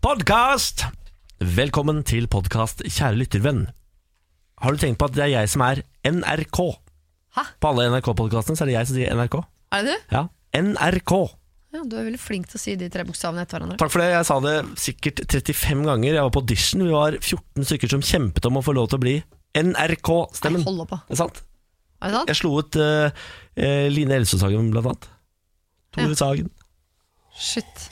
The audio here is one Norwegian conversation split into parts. Podkast! Velkommen til podkast, kjære lyttervenn. Har du tenkt på at det er jeg som er NRK? Hæ? På alle NRK-podkastene så er det jeg som sier NRK. Er det du? Ja, NRK. Ja, du er veldig flink til å si de tre bokstavene etter hverandre. Takk for det. Jeg sa det sikkert 35 ganger. Jeg var på audition. Vi var 14 stykker som kjempet om å få lov til å bli Nei, NRK-stemmen. hold opp, da. Det er sant. Er det sant? Jeg slo ut eh, eh, Line Elsøshagen, blant annet. Tore Sagen. Shit.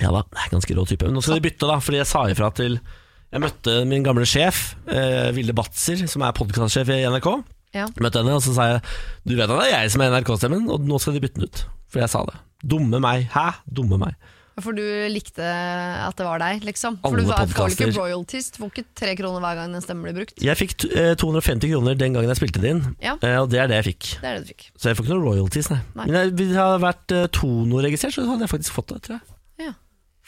Ja da, det er ganske rå type. Men nå skal de bytte, da, fordi jeg sa ifra til Jeg møtte min gamle sjef, eh, Vilde Batzer, som er podkastsjef i NRK. Ja. Møtte henne, og så sa jeg Du vet at det er jeg som er NRK-stemmen, og nå skal de bytte den ut. For jeg sa det. Dumme meg. Hæ? Dumme meg. For du likte at det var deg, liksom? For Alle du var- får vel podcaster. ikke royalties? Du får ikke tre kroner hver gang den stemmen blir brukt? Jeg fikk t- eh, 250 kroner den gangen jeg spilte det inn, Ja. eh, og det er det jeg fikk. Det er det du fikk. Så jeg får ikke noen royalties, nei. Nei. Men jeg, hvis jeg hadde vært eh, Tono-registrert, så hadde jeg faktisk fått det, tror jeg. Ja,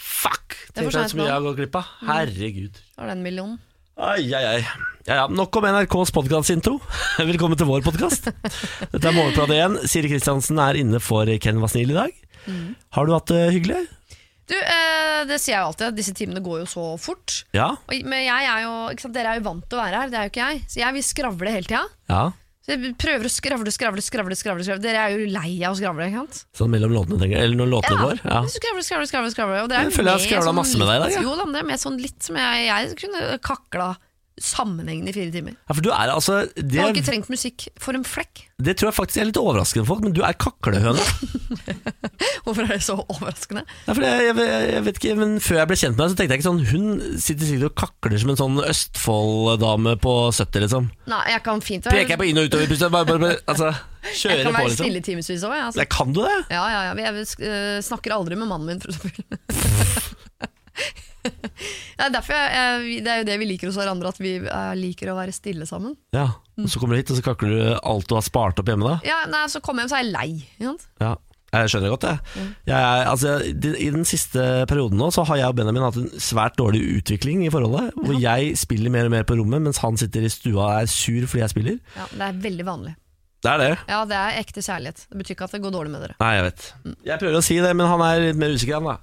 Fuck! Det er for Tenk deg sent så mye nå. Mm. jeg har gått glipp av. Herregud. det var den millionen. Ai, ai, ai. Ja, ja. Nok om NRKs podkastintro. Velkommen til vår podkast. Dette er Morgenpratet igjen. Siri Kristiansen er inne for Ken var snill i dag. Har du hatt det hyggelig? Du, eh, det sier jeg jo alltid, at disse timene går jo så fort. Ja. Og, men jeg er jo, ikke sant, dere er jo vant til å være her, det er jo ikke jeg. Så jeg vil skravle hele tida. ja. Så jeg prøver å skravle, skravle, skravle. skravle, skravle. Dere er jo lei av å skravle, ikke sant? Sånn mellom låtene, tenker jeg. Eller når låtene Ja, går. Ja. men så skravler, skravler, skravler, skravler. Og det er Jeg føler jeg har mer skravlet sånn masse med deg i dag, litt- jeg. Jo da, men det er mer sånn litt som jeg, jeg kunne kakla sammenhengende i fire timer. ja, for du er altså Jeg hadde det, ikke trengt musikk for en flekk. det tror jeg faktisk er litt overraskende for folk, men du er kaklehøne. Hvorfor er det så overraskende? Ja, for jeg, jeg, jeg vet ikke, men Før jeg ble kjent med deg, så tenkte jeg ikke sånn Hun sitter sikkert og kakler som en sånn Østfold-dame på 70, liksom. Nei, jeg kan fint være Preker jeg på inn- og utover, plutselig bare, bare, bare, altså, jeg kjører kan på, være liksom. stille timevis òg, jeg. Altså. Ja, kan du det? Ja, ja, ja. Jeg sk- eh, snakker aldri med mannen min, for eksempel. Det er, derfor jeg, jeg, det er jo det vi liker hos hverandre, at vi eh, liker å være stille sammen. Ja, Mm. og Så kommer du hit, og så kakler du alt du har spart opp hjemme. da Ja, nei, Så kommer jeg hjem, så er jeg lei. Ikke sant? Ja, Jeg skjønner det godt, Mm. jeg. jeg er- altså, de- I den siste perioden nå Så har jeg og Benjamin hatt en svært dårlig utvikling i forholdet. Hvor jeg spiller mer og mer på rommet, mens han sitter i stua og er sur fordi jeg spiller. Ja, det er veldig vanlig. Det er det. Ja, Det er ekte kjærlighet. Det betyr ikke at det går dårlig med dere. Nei, jeg vet. Mm. Jeg prøver å si det, men han er litt mer usikker, han da.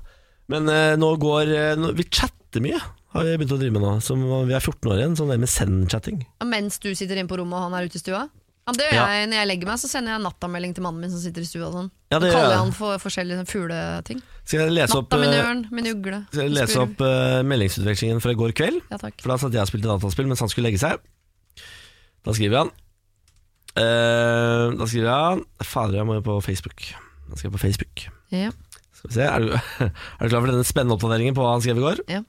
Men eh, nå går eh, nå, Vi chatter mye, har vi begynt å drive med nå. Som, vi er 14 år igjen, sånn det med send-chatting. Ja, Mens du sitter inne på rommet og han er ute i stua? Ja, det gjør Ja. jeg Når jeg legger meg, så sender jeg nattamelding til mannen min som sitter i stua. og Sånn. Ja, det Så gjør kaller jeg. jeg han for forskjellige sånn fugleting. Skal jeg lese opp, Natta, min eh, ørn, min ugle. skal jeg lese spurv. opp eh, meldingsutvekslingen fra i går kveld? Ja, takk. For da satt jeg og spilte dataspill mens han skulle legge seg. Da skriver han eh, Da skriver han Fader, jeg må jo på Facebook. Da skal jeg på Facebook. Ja. Skal vi se, er du, er du klar for denne spennende oppdateringen på hva han skrev i går? Ja.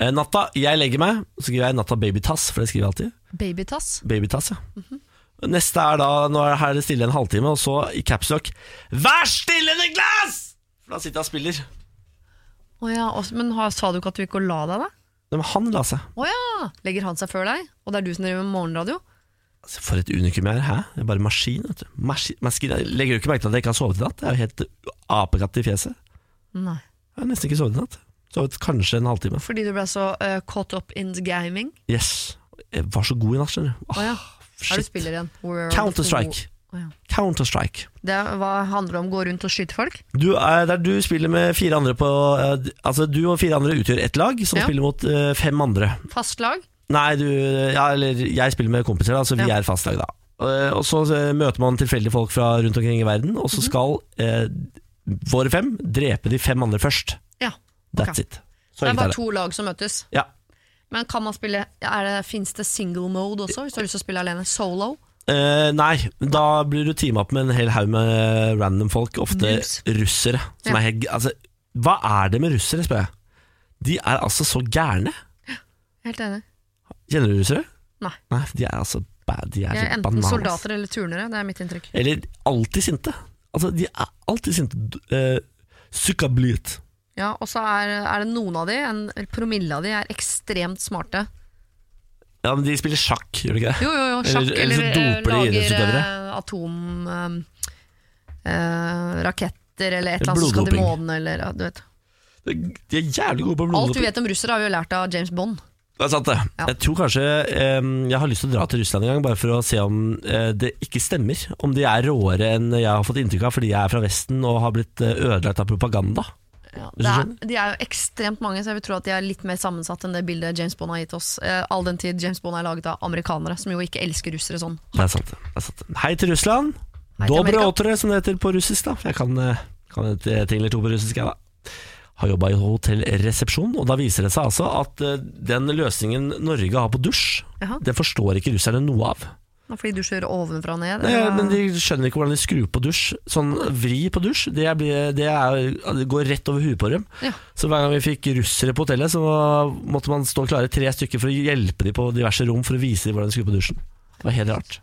Eh, natta, jeg legger meg. Så skriver jeg natta babytass, for det skriver jeg alltid. Babytass. Babytass, ja. Neste er da Nå er det stille en halvtime, og så i capslock Vær stille, Niklas! For da sitter jeg og spiller. Å ja, og- men har- sa du ikke at du gikk og la deg, da? Men han la seg. Å ja! Legger han seg før deg, og det er du som driver med morgenradio? Altså, For et unikum jeg er. Hæ? Jeg er bare maskin. vet du maskin, maskin. Jeg legger jo ikke merke til at jeg ikke har sovet i natt. Jeg er jo helt apekatt i fjeset. Nei. Jeg har nesten ikke sovet i natt. Sovet kanskje en halvtime. Fordi du ble så eh, caught up in the gaming? Yes. Jeg var så god i natt, skjønner du. Å ja. Er du Ah, shit. spiller igjen? World Counter-Strike. Å ja. Counter-Strike. Det er, hva handler det om? Gå rundt og skyte folk? Du eh, er der du spiller med fire andre på eh, d- Altså, du og fire andre utgjør ett lag som Ja. spiller mot eh, fem andre. Fast lag? Nei, du Ja, eller jeg spiller med kompiser, da, så vi Ja. er fastlag, da. Eh, Og så eh, møter man tilfeldige folk fra rundt omkring i verden, Mhm. og så skal eh, våre fem drepe de fem andre først. Ja. That's Ok. it. Så Det er enkelt bare to lag som møtes? Ja. Men kan man spille er det, Finnes det single mode også, hvis du har lyst til å spille alene? Solo? Eh, nei, da blir du teama opp med en hel haug med random folk, ofte Noobs. russere. Som Ja. er helt, altså, hva er det med russere, spør jeg? De er altså så gærne. Helt enig. Kjenner du russere? Nei. Nei, de er altså bad, de er, Jeg er helt enten bananas. soldater eller turnere, det er mitt inntrykk. Eller alltid sinte. Altså, de er alltid sinte. Uh, Sukkablyt. Ja, Og så er, er det noen av de, en promille av de, er ekstremt smarte. Ja, men de spiller sjakk, gjør de ikke det? Jo, jo, jo, sjakk Eller- eller eller, så eh, doper de lager idrettsutøvere. eh, atom... eh, eh, raketter eller et eller annet som skal til Bloddoping. månen eller ja, du vet. De er jævlig gode på Alt bloddoping. vi vet om russere, har vi jo lært av James Bond. Det er sant, det. Ja. Jeg tror kanskje em, jeg har lyst til å dra til Russland en gang, bare for å se om eh, det ikke stemmer. Om de er råere enn jeg har fått inntrykk av fordi jeg er fra Vesten og har blitt eh, ødelagt av propaganda. Ja, Hvis det du er, de er jo ekstremt mange, så jeg vil tro at de er litt mer sammensatt enn det bildet James Bond har gitt oss. Eh, all den tid James Bond er laget av amerikanere, som jo ikke elsker russere sånn. Det er sant. Det er sant. Hei til Russland. Hei til Dobre Amerika. otere, som det heter på russisk. da For Jeg kan, eh, kan et eh, ting eller to på russisk, jeg, da. Har jobba i hotellresepsjon, og da viser det seg altså at eh, den løsningen Norge har på dusj, Jaha. den forstår ikke russerne noe av. Fordi du kjører ovenfra og ned. Nei, eller- men De skjønner ikke hvordan de skrur på dusj. Sånn vri på dusj, det, blir, det, er, det går rett over huet på dem. Ja. Så hver gang vi fikk russere på hotellet, så måtte man stå klare tre stykker for å hjelpe dem på diverse rom for å vise dem hvordan de skrur på dusjen. Det var helt rart.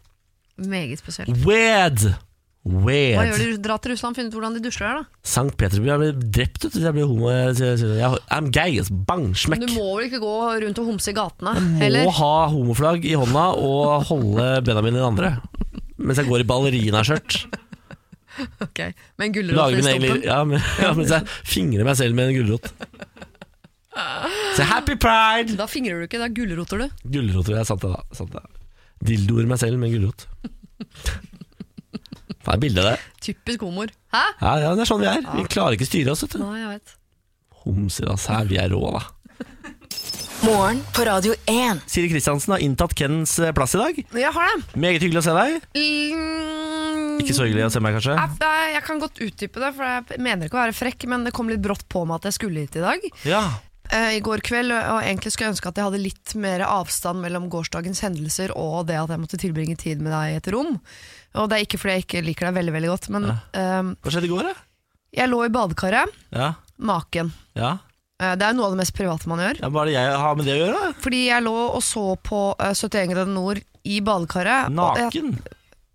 Meget spesielt. Weird! Hva Weird. gjør de? Dra til Russland og finne ut hvordan de dusjer her, da. Sankt Petersburg. Jeg ble drept ut hvis jeg ble homo. Jeg, jeg, jeg, jeg, I'm gay. altså. Bang, smekk. Du må vel ikke gå rundt og homse i gatene? Må Eller? ha homoflagg i hånda og holde Benjamin i den andre. Mens jeg går i ballerinaskjørt. Ok, Men gulrot Lager i min egen stumpen? ja, men, ja, Mens jeg fingrer meg selv med en gulrot. Så happy pride! Da fingrer du ikke, da gulroter du. Gulroter, jeg sant det da. Sant det. Dildoer meg selv med en gulrot. Det er bilde av det. Typisk homoer. Hæ? Ja, ja, det er sånn vi er. Vi klarer ikke å styre oss, vet du. Nei, jeg vet. Homser, altså. Her, vi er rå, da. Morgen på Radio 1. Siri Kristiansen har inntatt Kens eh, plass i dag. Jeg har det. Meget hyggelig å se deg. Mm, Ikke så hyggelig å se meg, kanskje? Jeg, eh, jeg kan godt utdype det, for jeg mener ikke å være frekk, men det kom litt brått på meg at jeg skulle hit i dag. Ja. eh, i går kveld, og egentlig skulle jeg ønske at jeg hadde litt mer avstand mellom gårsdagens hendelser og det at jeg måtte tilbringe tid med deg i et rom. Og det er ikke fordi jeg ikke liker deg veldig, veldig godt, men eh, Hva skjedde i går, da? jeg lå i badekaret, Ja. naken. ja. Eh, det er jo noe av det mest private man gjør. ja Hva er det jeg har med det å gjøre? da? Fordi jeg lå og så på eh, 71 grader nord i badekaret. og jeg- Naken?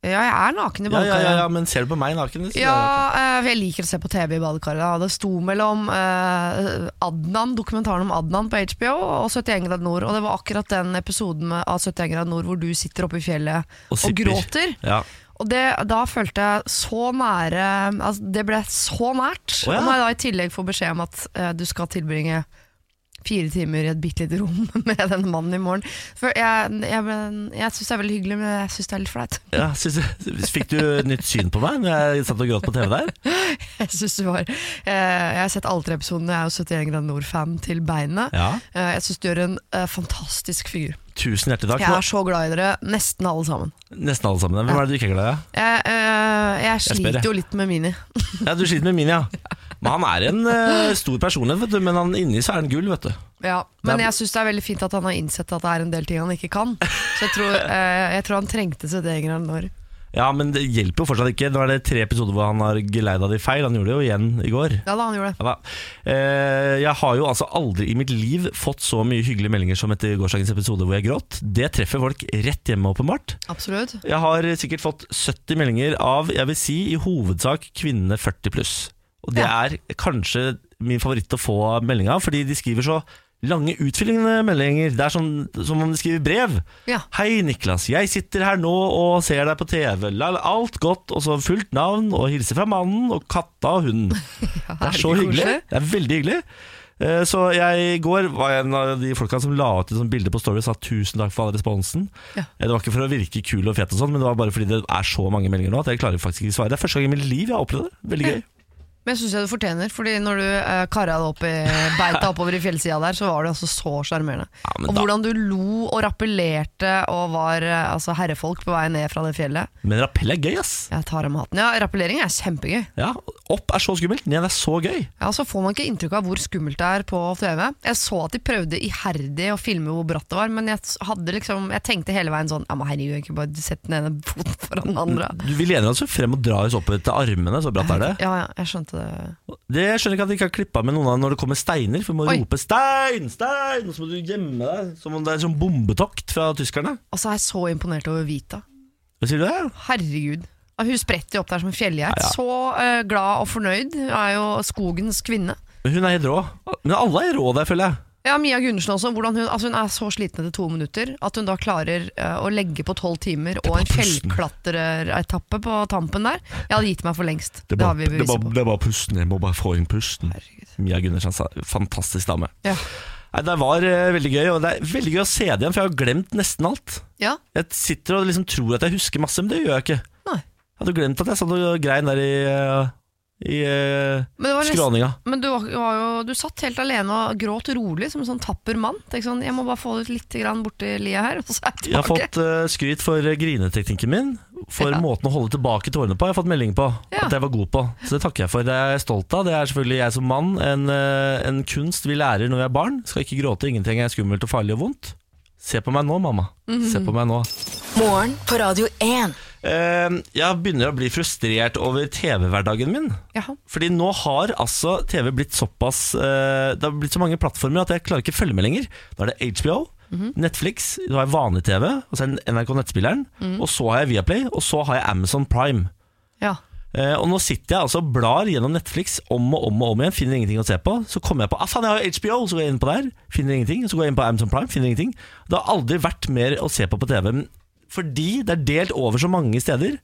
Ja, jeg er naken Ja, i ja, badekaret. ja, ja, men ser du på meg naken? liksom? så- Ja, eh, for jeg liker å se på TV i badekaret. da. Det sto mellom eh, Adnan, dokumentaren om Adnan på HBO og 71 grader nord. Og det var akkurat den episoden med, av 71 grader nord hvor du sitter oppe i fjellet og, sipper. gråter. Ja. Og det, da følte jeg så nære altså Det ble så nært. Å ja. Og når jeg da i tillegg får beskjed om at eh, du skal tilbringe fire timer i et bitte lite rom med den mannen i morgen For Jeg, jeg, ble- jeg syns det er veldig hyggelig, men jeg syns det er litt flaut. Ja, synes jeg, fikk du nytt syn på meg når jeg satt og gråt på TV der? Jeg synes det var eh, Jeg har sett alle tre episodene. Jeg er jo 71 grader nord-fan til beinet. Ja. Eh, jeg syns du gjør en eh, fantastisk figur. Tusen hjertelig takk. Jeg er så glad i dere, nesten alle sammen. Nesten alle sammen. Hvem er det du ikke er glad i? Jeg, eh, jeg spør, jeg. sliter jo litt med Mini. da? Ja, du sliter med min, ja. Men han er en eh, stor personlighet, vet du. Men han inni så er han gull, vet du. Ja, men Det er- jeg syns det er veldig fint at han har innsett at det er en del ting han ikke kan. Så jeg tror, eh, jeg tror han trengte 71 grader nord. Ja, men det hjelper jo fortsatt ikke. Nå er det tre episoder hvor han har geleida de feil. Han gjorde det jo igjen i går. Ja da, han gjorde det. Ja da. Eh, jeg har jo altså aldri i mitt liv fått så mye hyggelige meldinger som etter gårsdagens episode hvor jeg gråt. Det treffer folk rett hjemme, åpenbart. Absolutt. Jeg har sikkert fått 70 meldinger av, jeg vil si, i hovedsak kvinnene 40 pluss. Og det Ja. er kanskje min favoritt å få melding av, fordi de skriver så lange utfyllende meldinger. Det er sånn, som om de skriver brev. Ja. Hei Niklas, jeg sitter her nå og ser deg på TV. La alt godt, og så fullt navn, og hilser fra mannen og katta og hunden. Det er så Herregud, hyggelig. koselig. Det er veldig hyggelig. Eh, Så jeg i går var jeg en av de folka som la ut et sånt bilde på Story og sa tusen takk for all responsen. Ja. Eh, Det var ikke for å virke kul og fet, og sånn, men det var bare fordi det er så mange meldinger nå at jeg klarer faktisk ikke å svare. Det er første gang i mitt liv jeg har opplevd det. Veldig gøy. Men jeg syns jeg du fortjener, Fordi når du eh, karra deg opp i beita oppover i fjellsida der, så var du altså så sjarmerende. Ja, men og da- hvordan du lo og rappellerte og var eh, altså, herrefolk på vei ned fra det fjellet. Men rappell er gøy, ass. Jeg tar av meg hatten. Ja, rappellering er kjempegøy. Ja, Opp er så skummelt, ned er så gøy. Ja, Så får man ikke inntrykk av hvor skummelt det er på TV. Jeg så at de prøvde iherdig å filme hvor bratt det var, men jeg, s- hadde liksom, jeg tenkte hele veien sånn Ja, men herregud, ikke bare sett den ene foten foran den andre. Du, vi lener oss jo frem og drar oss oppover til armene, så bratt er det. Ja, ja, jeg skjønte det. Det jeg skjønner ikke at de ikke har klippa med noen av når det kommer steiner, for vi må Oi. rope 'stein, stein', og så må du gjemme deg. Som om det er sånn bombetokt fra tyskerne. Altså, jeg er så imponert over Vita. Hva sier du det? Herregud. Ja, Hun spretter jo opp der som en Ja, fjellgeit. ja. Så eh, glad og fornøyd. Hun er jo skogens kvinne. Men Hun er helt rå. Men alle er rå der, føler jeg. Ja, Mia Gundersen også. Hvordan hun, altså hun er så sliten etter to minutter at hun da klarer eh, å legge på tolv timer og bare en pusten. fjellklatreretappe på tampen der. Jeg hadde gitt meg for lengst. Det, har vi det beviser bare- på. det bare pusten. Jeg må bare få inn pusten. Herregud. Mia Gundersen, sa- fantastisk dame. Ja. Nei, det var eh, veldig gøy, og det er veldig gøy å se det igjen, for jeg har glemt nesten alt. ja. Jeg sitter og liksom tror at jeg husker masse, men det gjør jeg ikke. Nei. Jeg hadde glemt at jeg satt og grein der i eh, i eh, Men, det var nesten, skråninga. men du, var, var jo, du satt helt alene og gråt rolig som en sånn tapper mann. Tenk sånn, jeg må bare få det ut litt grann borti lia her, og så er jeg Jeg har tilbake. fått eh, skryt for eh, grineteknikken min. For Ja. måten å holde tilbake tårene på. Jeg har fått melding på Ja. at jeg var god på. Så det takker jeg for. Det er jeg stolt av. Det er selvfølgelig jeg som mann. En, eh, en kunst vi lærer når vi er barn. Skal ikke gråte. Ingenting er skummelt og farlig og vondt. Se på meg nå, mamma. Mhm. Se på meg nå. Morgen på Radio 1. Eh, jeg begynner å bli frustrert over TV-hverdagen min. Jaha. Fordi nå har altså TV blitt såpass eh, Det har blitt så mange plattformer at jeg klarer ikke å følge med lenger. Nå er det HBO, Netflix, nå har jeg vanlig TV, og så er det NRK Nettspilleren. Og så har jeg Viaplay, og så har jeg Amazon Prime. Ja. Eh, og nå sitter jeg altså og blar gjennom Netflix om og om og om igjen, finner ingenting å se på. Så kommer jeg på ah, faen, jeg har jo HBO, så går jeg inn på der, finner ingenting. Så går jeg inn på Amazon Prime, finner ingenting. Det har aldri vært mer å se på på TV, men fordi det er delt over så mange steder.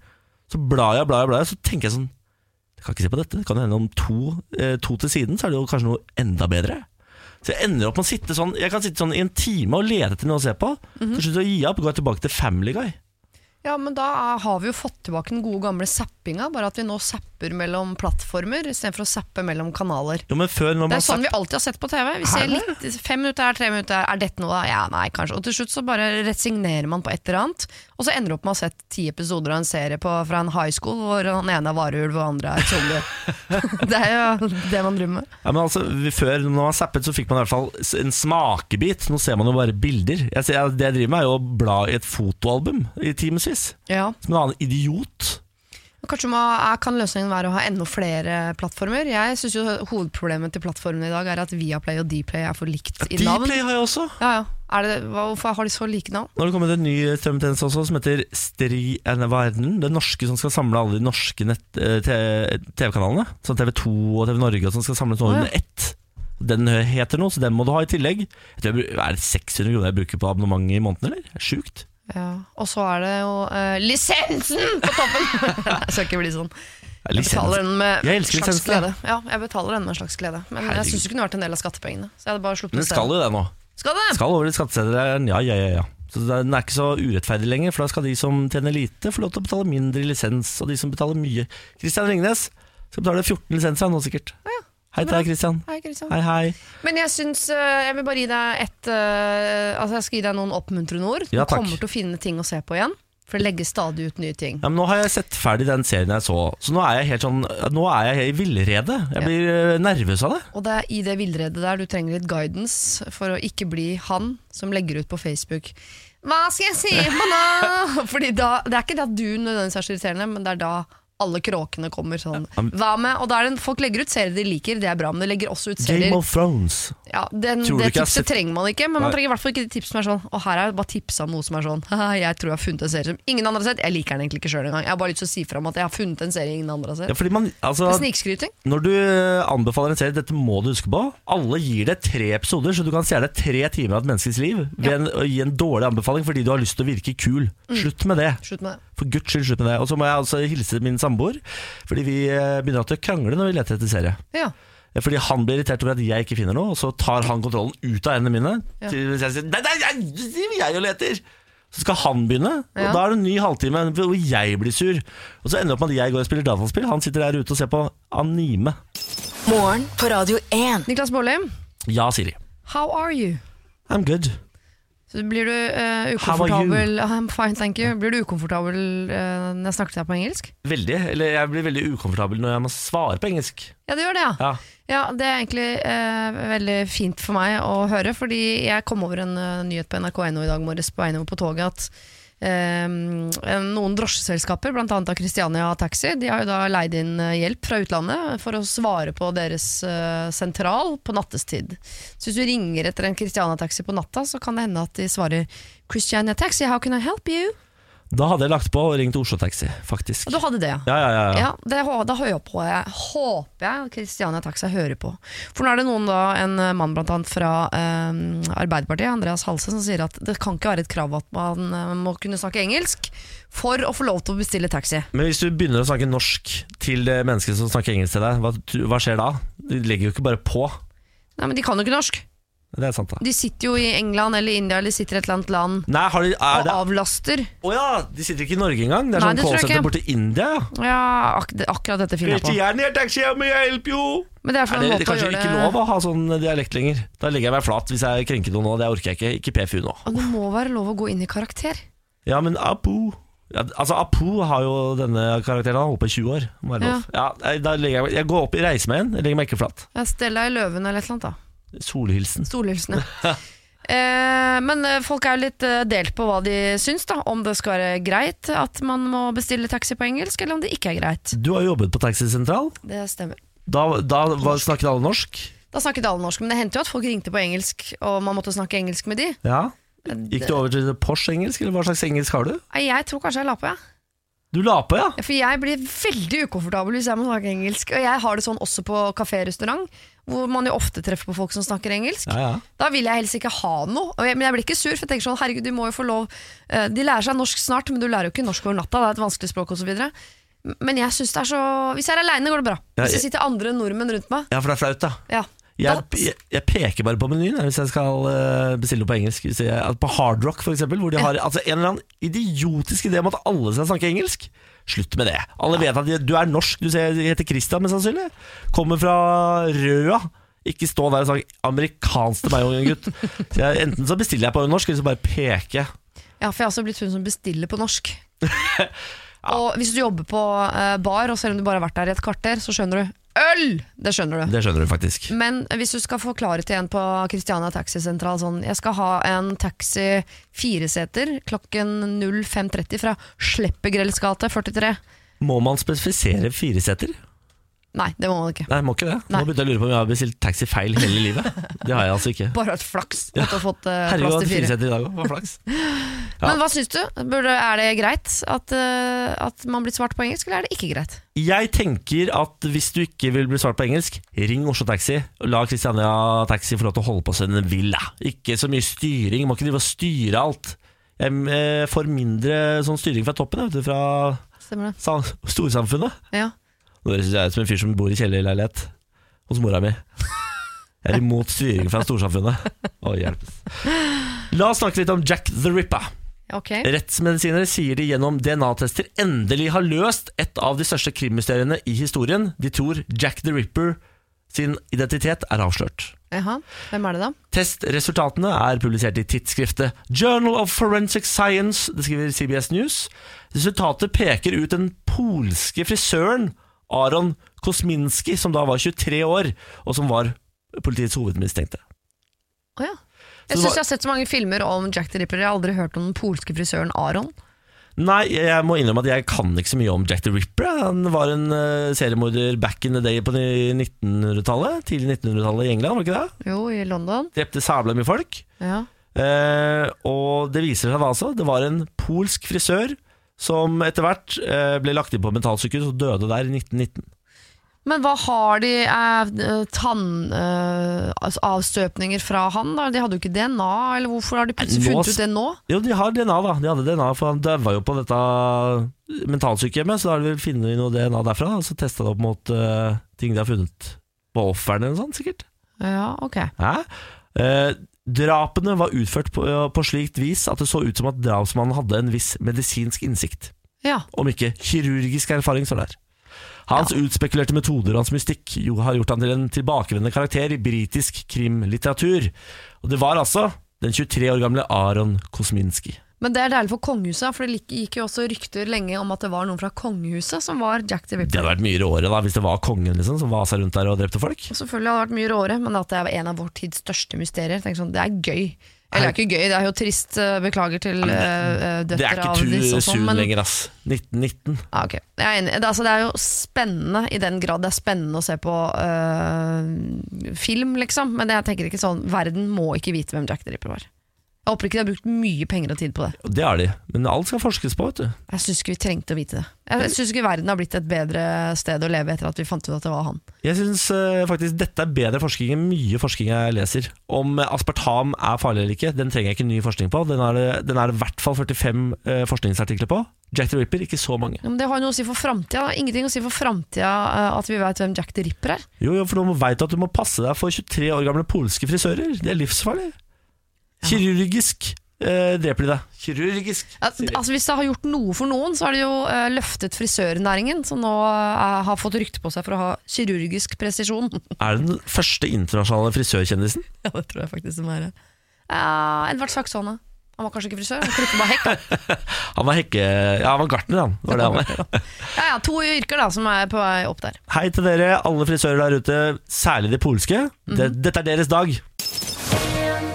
Så blar jeg, blar jeg, blar jeg, så tenker jeg sånn jeg kan ikke se på dette. Det kan hende om to, eh, to til siden, så er det jo kanskje noe enda bedre. Så jeg ender opp med å sitte sånn Jeg kan sitte sånn i en time og lete etter noe å se på. Mhm. Så slutter jeg å gi opp og går tilbake til Family Guy. ja, men da er- har vi jo fått tilbake den gode gamle zappinga, bare at vi nå zapper mellom plattformer istedenfor å zappe mellom kanaler. Jo, men før når man Det er sånn vi alltid har sett på TV. Vi ser litt, fem minutter her, tre minutter her. Er dette noe? da? Ja, nei, kanskje. Og til slutt så bare resignerer man på et eller annet. Og så ender du opp med å ha sett ti episoder av en serie på, fra en high school hvor den ene er varulv og den andre er zombie. det er jo det man drømmer med. Ja, men altså, vi- Før, når man zappet, så fikk man i hvert fall s- en smakebit. Nå ser man jo bare bilder. Jeg ser, det jeg driver med, er jo å bla i et fotoalbum i timevis. Ja. Som en annen idiot. Kanskje må, er- kan løsningen være å ha enda flere plattformer? Jeg syns jo hovedproblemet til plattformene i dag er at Viaplay og Dplay er for likt i navn. Dplay har jeg også. Ja, ja. Er det, hva- hvorfor har de så like navn? Nå har det kommet en ny strømmetjeneste også, som heter Stri eller hva er den? Den norske som skal samle alle de norske nett- eh, te- TV-kanalene. Sånn TV2 og TV Norge og sånn skal samles nå Å, ja. under ett. Den heter noe, så den må du ha i tillegg. Jeg tror jeg, bru- er det 600 kroner jeg bruker på abonnement i måneden, eller? Det er Sjukt. Ja. Og så er det jo eh, lisensen på toppen! jeg skal ikke bli sånn. Det er Jeg lisens. betaler den med Jeg en elsker slags lisensen, glede. Ja, jeg betaler den med en slags glede. Men jeg Herregud. syns det kunne vært en del av skattepengene. Så jeg hadde bare sluppet Men den det skal jo det nå. Skal det? Skal over i skatteseddelen, ja, ja, ja, ja. Så den er ikke så urettferdig lenger, for da skal de som tjener lite, få lov til å betale mindre i lisens, og de som betaler mye Kristian Ringnes skal betale 14 lisenser nå, sikkert. Hei til deg, Kristian. Hei, Kristian. Hei, hei. Men jeg syns eh, Jeg vil bare gi deg et eh, Altså jeg skal gi deg noen oppmuntrende ord. Du Ja, takk. kommer til å finne ting å se på igjen. For det legges stadig ut nye ting. Ja, men nå har jeg sett ferdig den serien jeg så, så nå er jeg helt sånn Nå er jeg i villrede. Jeg blir eh, nervøs av det. Og det er i det villredet der du trenger litt guidance for å ikke bli han som legger ut på Facebook Hva skal jeg se på nå? Fordi da, Det er ikke det at du nødvendigvis er så irriterende, men det er da alle kråkene kommer sånn. Hva med? Og da er det, folk legger ut serier de liker, det er bra, men de legger også ut serier Game of Thrones. ja, den, Tror du Det ikke jeg har tipset sett- trenger man ikke, men man Nei. trenger i hvert fall ikke de tips som er sånn Og her er det bare tipsa om noe som er sånn Haha, Jeg tror jeg har funnet en serie som ingen andre har sett. Jeg liker den egentlig ikke sjøl engang. Jeg har bare lyst til å si fra om at jeg har funnet en serie ingen andre har Ja, sett. fordi man, altså, Snikskryting. når du eh, anbefaler en serie, dette må du huske på Alle gir deg tre episoder, så du kan se deg tre timer av et menneskes liv ved en, å gi en dårlig anbefaling fordi du har lyst til å virke kul. Mm. Slutt med det. Slutt med det. For guds skyld, slutt med det. Og så må jeg altså hilse min samboer, fordi vi eh, begynner alltid å krangle når vi leter etter serie. Eh, Ja. Fordi han blir irritert over at jeg ikke finner noe, og så tar han kontrollen ut av hendene mine. Ja. Til hvis jeg sier Nei, nei, jeg, det driver jeg og leter! Så skal han begynne, og Ja. da er det en ny halvtime hvor jeg blir sur. Og så ender det opp med at jeg går og spiller dataspill, han sitter der ute og ser på anime. Morgen på Radio 1. Niklas Baarli, Ja, Siri. how are you? I'm good. Så blir du eh, How are you? ukomfortabel I'm fine, thank you. Blir du ukomfortabel eh, når jeg snakker til deg på engelsk? Veldig. Eller jeg blir veldig ukomfortabel når jeg må svare på engelsk. Ja, det gjør det, ja. Ja. ja det er egentlig eh, veldig fint for meg å høre, fordi jeg kom over en eh, nyhet på NRK.no i dag morges på vei nedover på toget at eh, noen drosjeselskaper, bl.a. av Christiania Taxi, de har jo da leid inn eh, hjelp fra utlandet for å svare på deres eh, sentral på nattestid. Så hvis du ringer etter en Christiania Taxi på natta, så kan det hende at de svarer Christiania Taxi, how can I help you? Da hadde jeg lagt på og ringt Oslo Taxi, faktisk. Og du hadde det, ja. Ja, ja, ja. ja. Ja, det, hå- da hører jeg på. Jeg håper jeg Kristiania Taxa hører på. For nå er det noen da, en mann blant annet fra eh, Arbeiderpartiet, Andreas Halse, som sier at det kan ikke være et krav at man eh, må kunne snakke engelsk for å få lov til å bestille taxi. Men hvis du begynner å snakke norsk til det mennesket som snakker engelsk til deg, hva, hva skjer da? De legger jo ikke bare på. Nei, men de kan jo ikke norsk. Det er sant, da. De sitter jo i England eller India eller sitter i et eller annet land Nei, har de, er og det avlaster. Å ja, de sitter ikke i Norge engang. Det er Nei, sånn det tror jeg callsenter ikke. borte i India. ja. Ja, ak det- akkurat dette finner jeg på. gjerne taxi, men jeg hjelper jo! Men det er for Er en det, det måte å kanskje gjøre ikke lov å ha sånn dialekt lenger? Da legger jeg meg flat hvis jeg krenker noen nå. Det orker jeg ikke. Ikke PFU nå. Og det må være lov å gå inn i karakter. Ja, men Apu ja, Altså, Apu har jo denne karakteren. Han holdt på i 20 år. Må være lov. Ja, nei, da legger jeg, meg- jeg går opp i reise med en. Jeg legger meg ikke flat. Ja, Stella i Løven eller et eller annet, da. Solhilsen. Solhilsen, ja. Eh, men eh, folk er jo litt eh, delt på hva de syns, da. Om det skal være greit at man må bestille taxi på engelsk, eller om det ikke er greit. Du har jo jobbet på taxisentral. Det stemmer. Da, da var, snakket alle norsk. Da snakket alle norsk, men det hendte jo at folk ringte på engelsk, og man måtte snakke engelsk med de. Eh, Ja. Gikk du over til Porsche-engelsk, eller hva slags engelsk har du? Nei, Jeg tror kanskje jeg la på, jeg. Du la på, ja. Ja, For jeg blir veldig ukomfortabel hvis jeg må snakke engelsk. Og jeg har det sånn også på kafé-restaurant, hvor man jo ofte treffer på folk som snakker engelsk. Ja, ja. Da vil jeg helst ikke ha noe. Og jeg, men jeg blir ikke sur, for jeg tenker sånn, herregud, du må jo få lov. Eh, De lærer seg norsk snart, men du lærer jo ikke norsk over natta. Det er et vanskelig språk osv. Men jeg synes det er så Hvis jeg er aleine, går det bra. Ja, Hvis jeg- det sitter andre nordmenn rundt meg. ja for det er flaut, da. Ja. Jeg, Da- jeg, jeg peker bare på menyen jeg, hvis jeg skal eh, bestille noe på engelsk. Hvis jeg, at på Hard Rock, for eksempel, hvor de har altså, en eller annen idiotisk idé om at alle skal snakke engelsk. Slutt med det. Alle vet at de, du er norsk. Du ser, de heter Christian, mest sannsynlig. Kommer fra Røa. Ikke stå der og snakk amerikansk til meg, unge gutt. Så jeg, enten så bestiller jeg på norsk, eller så bare peker jeg. Ja, for jeg har også blitt hun som bestiller på norsk. Og hvis du jobber på eh, bar, og selv om du bare har vært der i et kvarter, så skjønner du øl! Det skjønner du. Det skjønner du faktisk. Men hvis du skal forklare til en på Christiania taxisentral sånn Jeg skal ha en taxi fireseter klokken 05.30 fra Sleppegrells gate 43. Må man spesifisere fireseter? Nei, det må man ikke. Nei, må ikke det. Nei. Nå begynte jeg å lure på om jeg har bestilt taxi feil hele livet. Det har jeg altså ikke. Bare hatt flaks at du har fått eh, Herregud, plass jeg hadde til fire. fireseter i dag òg. Hva flaks. ja. Men hva syns du? Burde, er det greit at, eh, at man blir svart på engelsk, eller er det ikke greit? Jeg tenker at hvis du ikke vil bli svart på engelsk, ring Oslo Taxi. og La Christiania Taxi få lov til å holde på som den vil. da. Ikke så mye styring. Må ikke drive og styre alt. Jeg eh, får mindre sånn styring fra toppen, jeg, vet du, fra Stemmer det? sam- storsamfunnet. Ja. Nå høres jeg ut som en fyr som bor i kjellerleilighet hos mora mi. Jeg er imot styring fra storsamfunnet. Å, hjelpes. La oss snakke litt om Jack the Ripper. Ok. Eh. Rettsmedisinere sier de gjennom DNA-tester endelig har løst et av de største krimmysteriene i historien. De tror Jack the Ripper sin identitet er avslørt. Jaha. Hvem er det, da? Testresultatene er publisert i tidsskriftet Journal of Forensic Science, det skriver CBS News. Resultatet peker ut den polske frisøren Aron Kosminski, som da var 23 år, og som var politiets hovedmistenkte. Å ja. Så det Jeg syns var- jeg har sett så mange filmer om Jack the Ripper. Jeg har aldri hørt om den polske frisøren Aron. Nei, jeg må innrømme at jeg kan ikke så mye om Jack the Ripper. Han var en eh, seriemorder back in the day på ni- 1900-tallet. Tidlig 1900-tallet i England, var det ikke det? Jo, i London. Drepte sabla mye folk. Ja. Eh, og det viser seg da altså, det var en polsk frisør som etter hvert eh, ble lagt inn på mentalsykehus og døde der i 1919. Men hva har de eh, tannavstøpninger fra han, da? De hadde jo ikke DNA, eller hvorfor har de plutselig Nå funnet s- ut det nå? Jo, de har DNA, da. De hadde DNA, For han daua jo på dette eh, mentalsykehjemmet, så da har de vel funnet noe DNA derfra. Og så testa det opp mot eh, ting de har funnet på ofrene eller noe sånt, sikkert. Ja, ok. Hæ? Eh, drapene var utført på, eh, på slikt vis at det så ut som at drapsmannen hadde en viss medisinsk innsikt. Ja. Om ikke kirurgisk erfaring, står det her. Hans utspekulerte metoder og hans mystikk jo har gjort han til en tilbakevendende karakter i britisk krimlitteratur. Og det var altså den 23 år gamle Aron Kosminski. Men det er deilig for kongehuset, for det lik- gikk jo også rykter lenge om at det var noen fra kongehuset som var Jack the Det Ripper. hadde vært mye råere da, hvis det var kongen liksom, som vasa rundt der og drepte folk. Og Selvfølgelig hadde det vært mye råere, men at det er en av vår tids største mysterier. Tenk sånn, det er gøy. Eller det er ikke gøy, det er jo trist. eh, Beklager til uh, Det er døtre ikke av disse too og sånn, soon men lenger, ass. 1919. Ja, Ah, ok. Jeg er enig. Det, er altså, det er jo spennende i den grad det er spennende å se på øh, film, liksom. Men jeg tenker ikke sånn, verden må ikke vite hvem Jack the Ripper var. Jeg håper ikke de har brukt mye penger og tid på det. Og Det er de. Men alt skal forskes på, vet du. Jeg syns ikke vi trengte å vite det. Jeg syns ikke verden har blitt et bedre sted å leve etter at vi fant ut at det var han. Jeg syns faktisk dette er bedre forskning enn mye forskning jeg leser. Om eh, aspartam er farlig eller ikke, den trenger jeg ikke ny forskning på. Den er det, den er det i hvert fall 45 eh, forskningsartikler på. Jack the Ripper, ikke så mange. Ja, men det har jo noe å si for framtida. da. Ingenting å si for framtida eh, at vi veit hvem Jack the Ripper er. Jo, jo, for du veit at du må passe deg for 23 år gamle polske frisører. Det er livsfarlig. Kirurgisk eh, dreper de deg. Kirurgisk. Al- Altså, hvis det har gjort noe for noen, så har det jo eh, løftet frisørnæringen, som nå eh, har fått rykte på seg for å ha kirurgisk presisjon. Er det den første internasjonale frisørkjendisen? ja, det tror jeg faktisk som er det. Uh, Edvard Saksone. Han var kanskje ikke frisør, han klippet bare hekk. Han var hekke... Ja, han var gartner, han. Var det han var. Ja, ja, to yrker da, som er på vei opp der. Hei til dere, alle frisører der ute, særlig de polske. Det, dette er deres dag.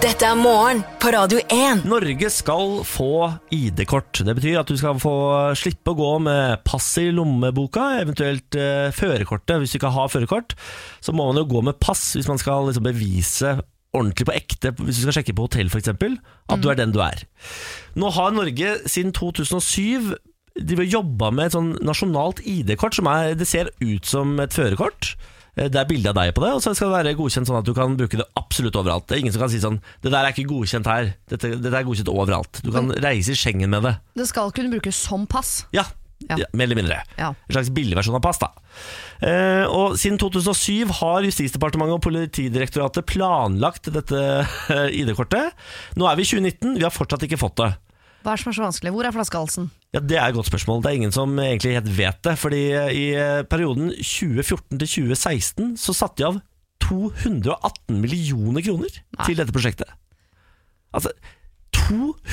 Dette er morgen på Radio 1. Norge skal få ID-kort. Det betyr at du skal få slippe å gå med pass i lommeboka, eventuelt eh, førerkortet. Hvis du ikke har førerkort, så må man jo gå med pass hvis man skal liksom, bevise ordentlig på ekte, hvis du skal sjekke på hotell f.eks., at du er den du er. Nå har Norge siden 2007 de har jobba med et sånn nasjonalt ID-kort som er, det ser ut som et førerkort. Eh, Det er bilde av deg på det, og så skal det være godkjent sånn at du kan bruke det absolutt overalt. Det er ingen som kan si sånn 'det der er ikke godkjent her', dette, dette er godkjent overalt. Du kan reise i Schengen med det. Det skal kunne brukes som pass. Ja, Ja. ja mer eller mindre. Ja. En slags billigversjon av pass, da. Eh, og siden 2007 har Justisdepartementet og Politidirektoratet planlagt dette ID-kortet. Nå er vi i 2019, vi har fortsatt ikke fått det. Hva er det som er så vanskelig? Hvor er flaskehalsen? Ja, Det er et godt spørsmål. Det er ingen som egentlig helt vet det. fordi i eh, perioden 2014 til 2016 så satte de av 218 millioner kroner til dette prosjektet. Altså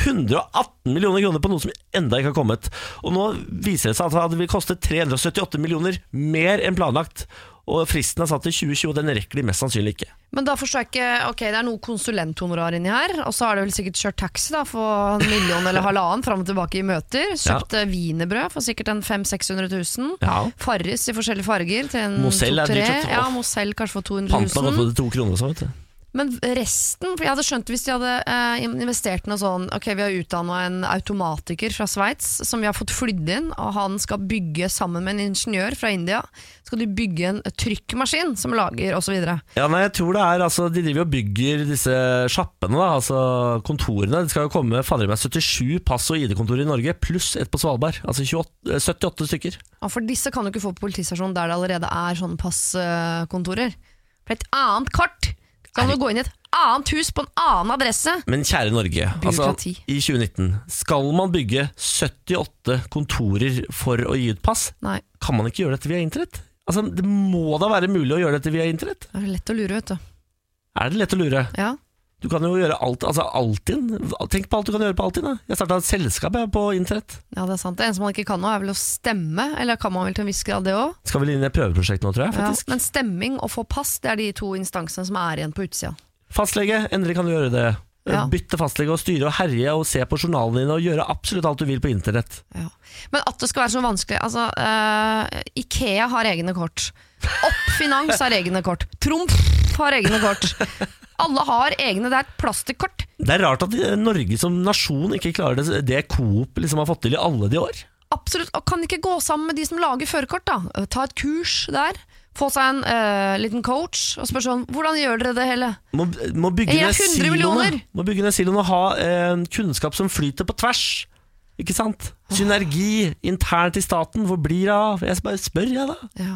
218 millioner kroner på noe som enda ikke har kommet. Og nå viser det seg at det vil koste 378 millioner mer enn planlagt. Og fristen er satt til 2020, og den rekker de mest sannsynlig ikke. Men da forstår jeg ikke Ok, det er noe konsulenthonorar inni her, og så har det vel sikkert kjørt taxi da for en million eller halvannen fram og tilbake i møter. Kjøpt eh, wienerbrød for sikkert en 500 000-600 000. Ja. Farris i forskjellige farger til en Moselle er dyrt, 2-3. vet du. Ja, Åh. Moselle kanskje for 200 Panta 000. gått på til to kroner og sånn, vet du. Men resten, for jeg hadde skjønt hvis de hadde eh, investert noe sånn Ok, vi har utdanna en automatiker fra Sveits som vi har fått flydd inn, og han skal bygge sammen med en ingeniør fra India. Skal de bygge en trykkmaskin som lager osv. Ja, nei, jeg tror det er, altså, De driver og bygger disse sjappene, da, altså kontorene. Det skal jo komme fader meg 77 pass- og ID-kontorer i Norge, pluss et på Svalbard. Altså 28, eh, 78 stykker. Ja, for disse kan du ikke få på politistasjonen der det allerede er sånne passkontorer. For et annet kart! Så kan du gå inn i et annet hus på en annen adresse! Men kjære Norge, altså, Byråkrati. i 2019 skal man bygge 78 kontorer for å gi ut pass? Nei, Kan man ikke gjøre dette via internett? Altså, Det må da være mulig å gjøre dette via internett? det er lett å lure, vet du. Er det lett å lure? Ja. Du kan jo gjøre alt, altså Altinn. Tenk på alt du kan gjøre på Altinn. da. Jeg starta et selskap jeg, på internett. ja, det er sant. Det eneste man ikke kan nå, er vel å stemme. Eller kan man vel til en viss grad det òg? Skal vel inn i et prøveprosjekt nå, tror jeg. Ja, faktisk. men stemming og få pass, det er de to instansene som er igjen på utsida. Fastlege, endelig kan du gjøre det. Ja. Bytte fastlege og styre og herje og se på journalene dine og gjøre absolutt alt du vil på internett. Ja. Men at det skal være så vanskelig altså, eh, Ikea har egne kort. Opp Finans har egne kort. Trumf har egne kort. Alle har egne. Det er et plastikkort. Det er rart at eh, Norge som nasjon ikke klarer det, det Coop liksom har fått til i alle de år. Absolutt, og Kan ikke gå sammen med de som lager førerkort. da Eh, Ta et kurs der. Få seg en eh, liten coach og spørre sånn Hvordan gjør dere det hele? Må, må bygge Jeg gir ned 100 siloene millioner. Må bygge ned siloene og ha eh, kunnskap som flyter på tvers. Ikke sant? Synergi internt i staten. Hvor blir det av? Jeg bare spør, jeg, da. Ja.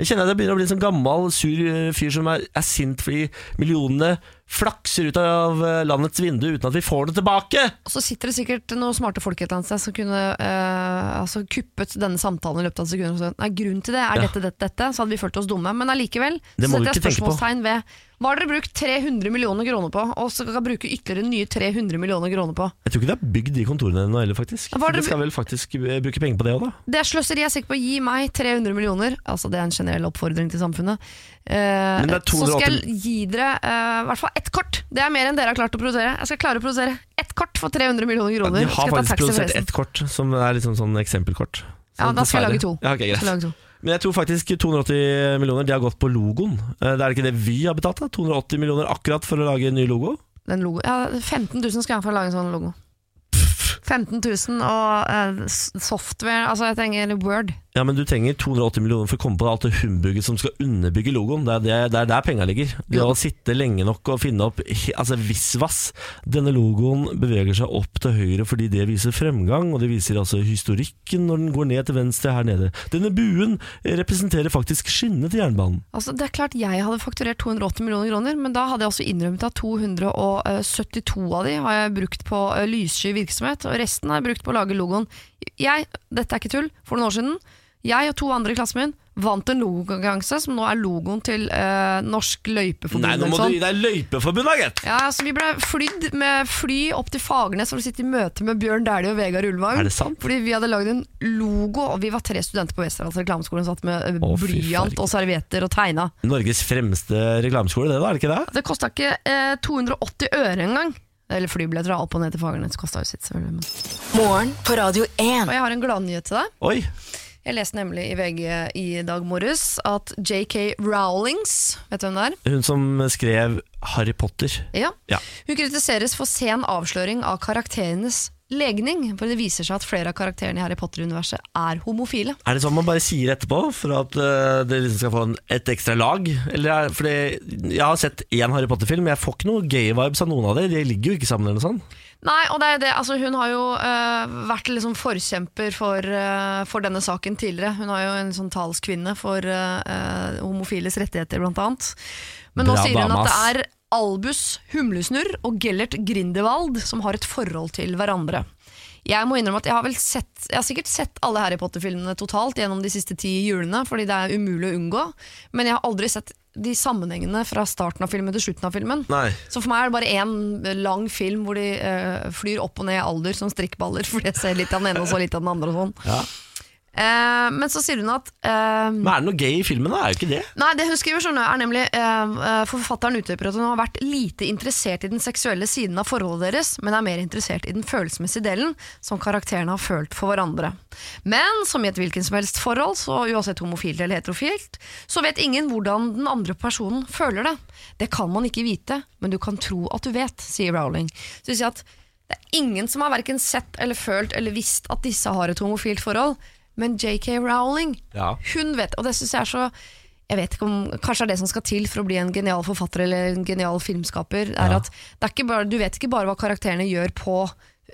Jeg kjenner at jeg begynner å bli en sånn gammel, sur eh, fyr som er, er sint fordi millionene flakser ut av eh, landets vindu uten at vi får det tilbake. Og så sitter det sikkert noen smarte folk et eller annet sted som kunne eh, altså kuppet denne samtalen i løpet av sekunder. Og så, nei, grunnen til det er Ja. dette, dette, dette. Så hadde vi følt oss dumme. Men allikevel så Det må vi setter jeg ikke tenke på. spørsmålstegn ved hva har dere brukt 300 millioner kroner på, og så kan dere bruke ytterligere nye 300 millioner kroner på? Jeg tror ikke det er bygd de kontorene ennå heller, faktisk. Ja, hva er det- De skal vel faktisk eh, bruke penger på det òg, da. Det er sløseri. Jeg er sikker på å gi meg 300 millioner. Altså Det er en generell oppfordring til samfunnet. Eh, Men det er så skal 280 jeg gi dere eh, i hvert fall ett kort. Det er mer enn dere har klart å produsere. Jeg skal klare å produsere ett kort for 300 millioner kroner. De har Skal ta faktisk taxi produsert forresten. ett kort, som er liksom sånn eksempelkort. Så Ja, da skal dessverre- jeg lage to. Ja, ok, greit. Skal lage to. Men jeg tror faktisk 280 millioner de har gått på logoen. Eh, Det er det ikke det Vy har betalt? da? 280 millioner akkurat for å lage en ny logo? Den logo. Ja, 15 000 skal jeg iallfall lage en sånn logo. 15 000 og eh, s- software Altså, jeg trenger Word. Ja, men du trenger 280 millioner for å komme på alt det humbugget som skal underbygge logoen. Det er, det, det er der penga ligger. Det å sitte lenge nok og finne opp he- Altså visvas. Denne logoen beveger seg opp til høyre fordi det viser fremgang, og det viser altså historikken når den går ned til venstre her nede. Denne buen representerer faktisk skinnene til jernbanen. Altså, det er klart jeg hadde fakturert 280 millioner kroner, men da hadde jeg også innrømt at 272 eh, av de har jeg brukt på eh, lyssky virksomhet, og resten har jeg brukt på å lage logoen. Jeg, dette er ikke tull, for noen år siden, jeg og to andre i klassen min vant en logokonkurranse som nå er logoen til eh, Norsk Løypeforbund. Nei, nå eller må du sånn. gi deg løypeforbundet, gitt! Ja, altså Vi ble flydd med fly opp til Fagernes for å sitte i møte med Bjørn Dæhlie og Vegard Ulvang. Er det sant? Fordi vi hadde lagd en logo, og vi var tre studenter på Westerdals reklameskolen satt med eh, Å, fy blyant farge. og servietter og tegna. Norges fremste reklameskole, det da, er det ikke det? Det kosta ikke eh, 280 øre engang. Eller flybilletter da, opp og ned til Fagernes kosta jo sitt, selvfølgelig. Men. Morgen på Radio 1. Og jeg har en gladnyhet til deg. Oi! Jeg leste nemlig i VG i dag morges at JK Rowlings, vet du hvem det er? Hun som skrev Harry Potter. Ja. Ja. Hun kritiseres for sen avsløring av karakterenes legning, for det viser seg at flere av karakterene i Harry Potter-universet er homofile. Er det sånn man bare sier etterpå for at eh, det liksom skal få en, et ekstra lag? Eller er, fordi jeg har sett én Harry Potter-film, jeg får ikke noe gay-vibes av noen av dem. De ligger jo ikke sammen eller noe sånt. Nei, og det er det, altså Hun har jo øh, vært liksom forkjemper for, øh, for denne saken tidligere. Hun har jo en sånn talskvinne for øh, øh, homofiles rettigheter, blant annet. Men nå Bra sier hun dame, at det ass. er Albus Humlesnurr og Gellert Grindewald som har et forhold til hverandre. Jeg må innrømme at jeg har vel sett Jeg har sikkert sett alle Harry Potter-filmene totalt gjennom de siste ti julene, fordi det er umulig å unngå. Men jeg har aldri sett de sammenhengene fra starten av filmen til slutten av filmen. Nei. Så for meg er det bare én lang film hvor de eh, flyr opp og ned i alder som strikkballer, fordi jeg ser litt av den ene og så litt av den andre og sånn. Ja. Eh, men så sier hun at eh, Men er det noe gay i filmen? da? Er jo ikke det. Nei, det hun skriver sånn er nemlig eh, eh, Forfatteren utdyper at hun har vært lite interessert i den seksuelle siden av forholdet deres, men er mer interessert i den følelsesmessige delen som karakterene har følt for hverandre. Men som i et hvilken som helst forhold, så uansett homofilt eller heterofilt, så vet ingen hvordan den andre personen føler det. Det kan man ikke vite, men du kan tro at du vet, sier Rowling. Så vil si at det er ingen som har verken sett eller følt eller visst at disse har et homofilt forhold, men JK Rowling Ja. hun vet, og det synes jeg er så jeg vet ikke om, Kanskje det er det som skal til for å bli en genial forfatter eller en genial filmskaper. Er Ja. at det er ikke bare, Du vet ikke bare hva karakterene gjør på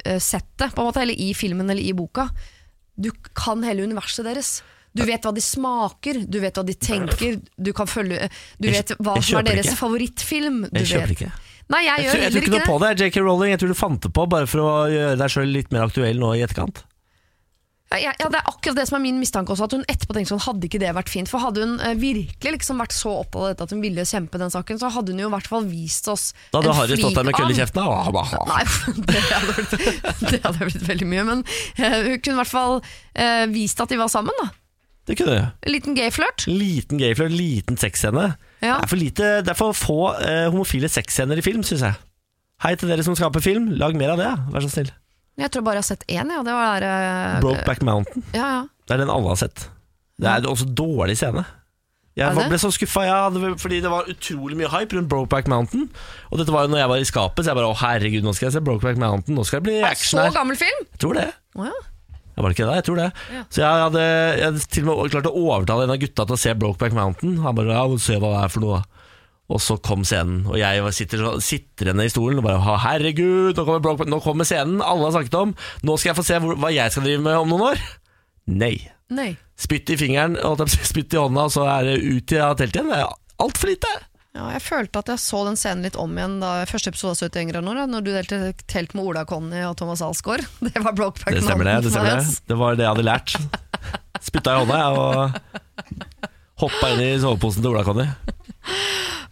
eh, settet, på en måte, eller i filmen eller i boka. Du kan hele universet deres. Du vet hva de smaker, du vet hva de tenker, du kan følge Du Jeg- vet hva jeg som er kjøper deres ikke. favorittfilm. Du Jeg kjøper vet. ikke. Nei, jeg, Jeg tror, jeg gjør tror heller ikke ikke noe det. på det. JK Rowling, jeg tror du fant det på bare for å gjøre deg sjøl litt mer aktuell nå i etterkant. Ja, ja, ja, Det er akkurat det som er min mistanke også, at hun etterpå tenkte sånn, hadde ikke det vært fint? For hadde hun eh, virkelig liksom vært så opptatt av dette at hun ville kjempe den saken, så hadde hun jo i hvert fall vist oss Da hadde en Harry stått flik der med kølle i av- kjeften. da. Ah, bah, ah. Nei, det hadde, blitt, det hadde blitt veldig mye, men eh, hun kunne i hvert fall eh, vist at de var sammen, da. Det kunne du. En liten gayflørt. Liten gayflirt, liten sexscene. Det Ja. er for, lite, det er for få eh, homofile sexscener i film, syns jeg. Hei til dere som skaper film, lag mer av det, vær så snill. Jeg tror bare jeg har sett én, ja. Det var der, eh, Brokeback Mountain. ja, ja. Det er den alle har sett. Det er også dårlig scene. Jeg Er var- det? ble så skuffa, ja, det var- fordi det var utrolig mye hype rundt Brokeback Mountain. Og dette var jo når jeg var i skapet, så jeg bare å herregud, nå skal jeg se Brokeback Mountain. Nå skal det bli action Så her. gammel film! Jeg tror det. Å, ja. Jeg var det ikke det, jeg tror det. Så jeg hadde, jeg hadde til og med klart å overtale en av gutta til å se Brokeback Mountain. Han bare ja, se hva det er for noe. Og så kom scenen, og jeg var- sitter så- sitrende i stolen og bare «Å, herregud, nå kommer, Brokeback, nå kommer scenen alle har snakket om. Nå skal jeg få se hvor, hva jeg skal drive med om noen år. Nei. Nei. Spytt i fingeren, holdt jeg på å si, spytt i hånda, og så er det ut i teltet igjen. Det er altfor lite. Ja, jeg følte at jeg så den scenen litt om igjen da første episode av 70 Engler nå, da, når du delte telt med Ola Conny og Thomas Alsgaard. Det var Brokeback Det stemmer det. Det Mountain, stemmer det. yes. Det var det jeg hadde lært. Spytta i hånda, jeg, og hoppa inn i soveposen til Ola Conny.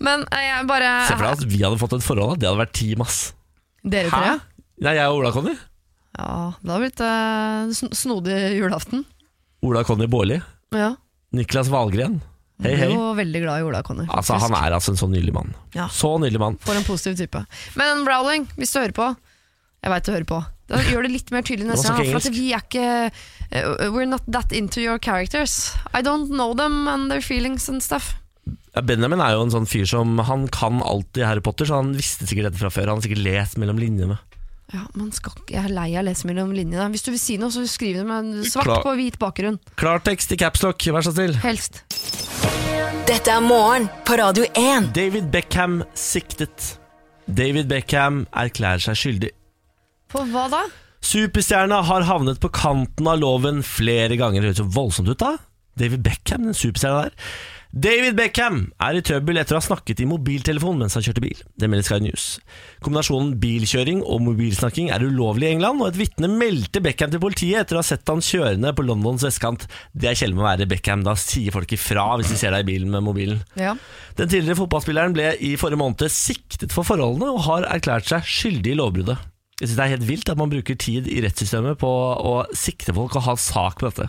Men eh, jeg bare Se for deg at vi hadde fått et forhold, da. det hadde vært team, ass. Dere tre? Ja, Nei, jeg og Ola Conny. det hadde blitt eh, sn- snodig julaften. Ola Conny Baarli. Ja. Niklas Valgren. Hei, Jeg hei. er jo veldig glad i Ola Conny. Altså, han er altså en så nydelig mann. Ja. Så nydelig mann. For en positiv type. Men Browling, hvis du hører på Jeg veit du hører på. Da gjør det litt mer tydelig neste snakker gang. For at engelsk. vi er ikke eh, We're not that into your characters. I don't know them and their feelings and stuff. Ja, Benjamin er jo en sånn fyr som Han kan alt i Harry Potter, så han visste sikkert dette fra før. Han har sikkert lest mellom linjene. Ja, man skal, ikke- jeg er lei av å lese mellom linjene. Hvis du vil si noe, så skriv det med svart Klar. på hvit bakgrunn. Klartekst i capslock, vær så snill. Helst. Dette er morgen på Radio 1. David Beckham siktet. David Beckham erklærer seg skyldig. På hva da? Superstjerna har havnet på kanten av loven flere ganger. Det høres jo voldsomt ut, da. David Beckham, den superstjerna der. David Beckham er i trøbbel etter å ha snakket i mobiltelefon mens han kjørte bil. Det melder Sky News. Kombinasjonen bilkjøring og mobilsnakking er ulovlig i England, og et vitne meldte Beckham til politiet etter å ha sett han kjørende på Londons vestkant. Det er kjelden med å være Beckham. Da sier folk ifra hvis de ser deg i bilen med mobilen. Ja. Den tidligere fotballspilleren ble i forrige måned siktet for forholdene og har erklært seg skyldig i lovbruddet. Jeg synes Det er helt vilt at man bruker tid i rettssystemet på å sikte folk og ha sak på dette.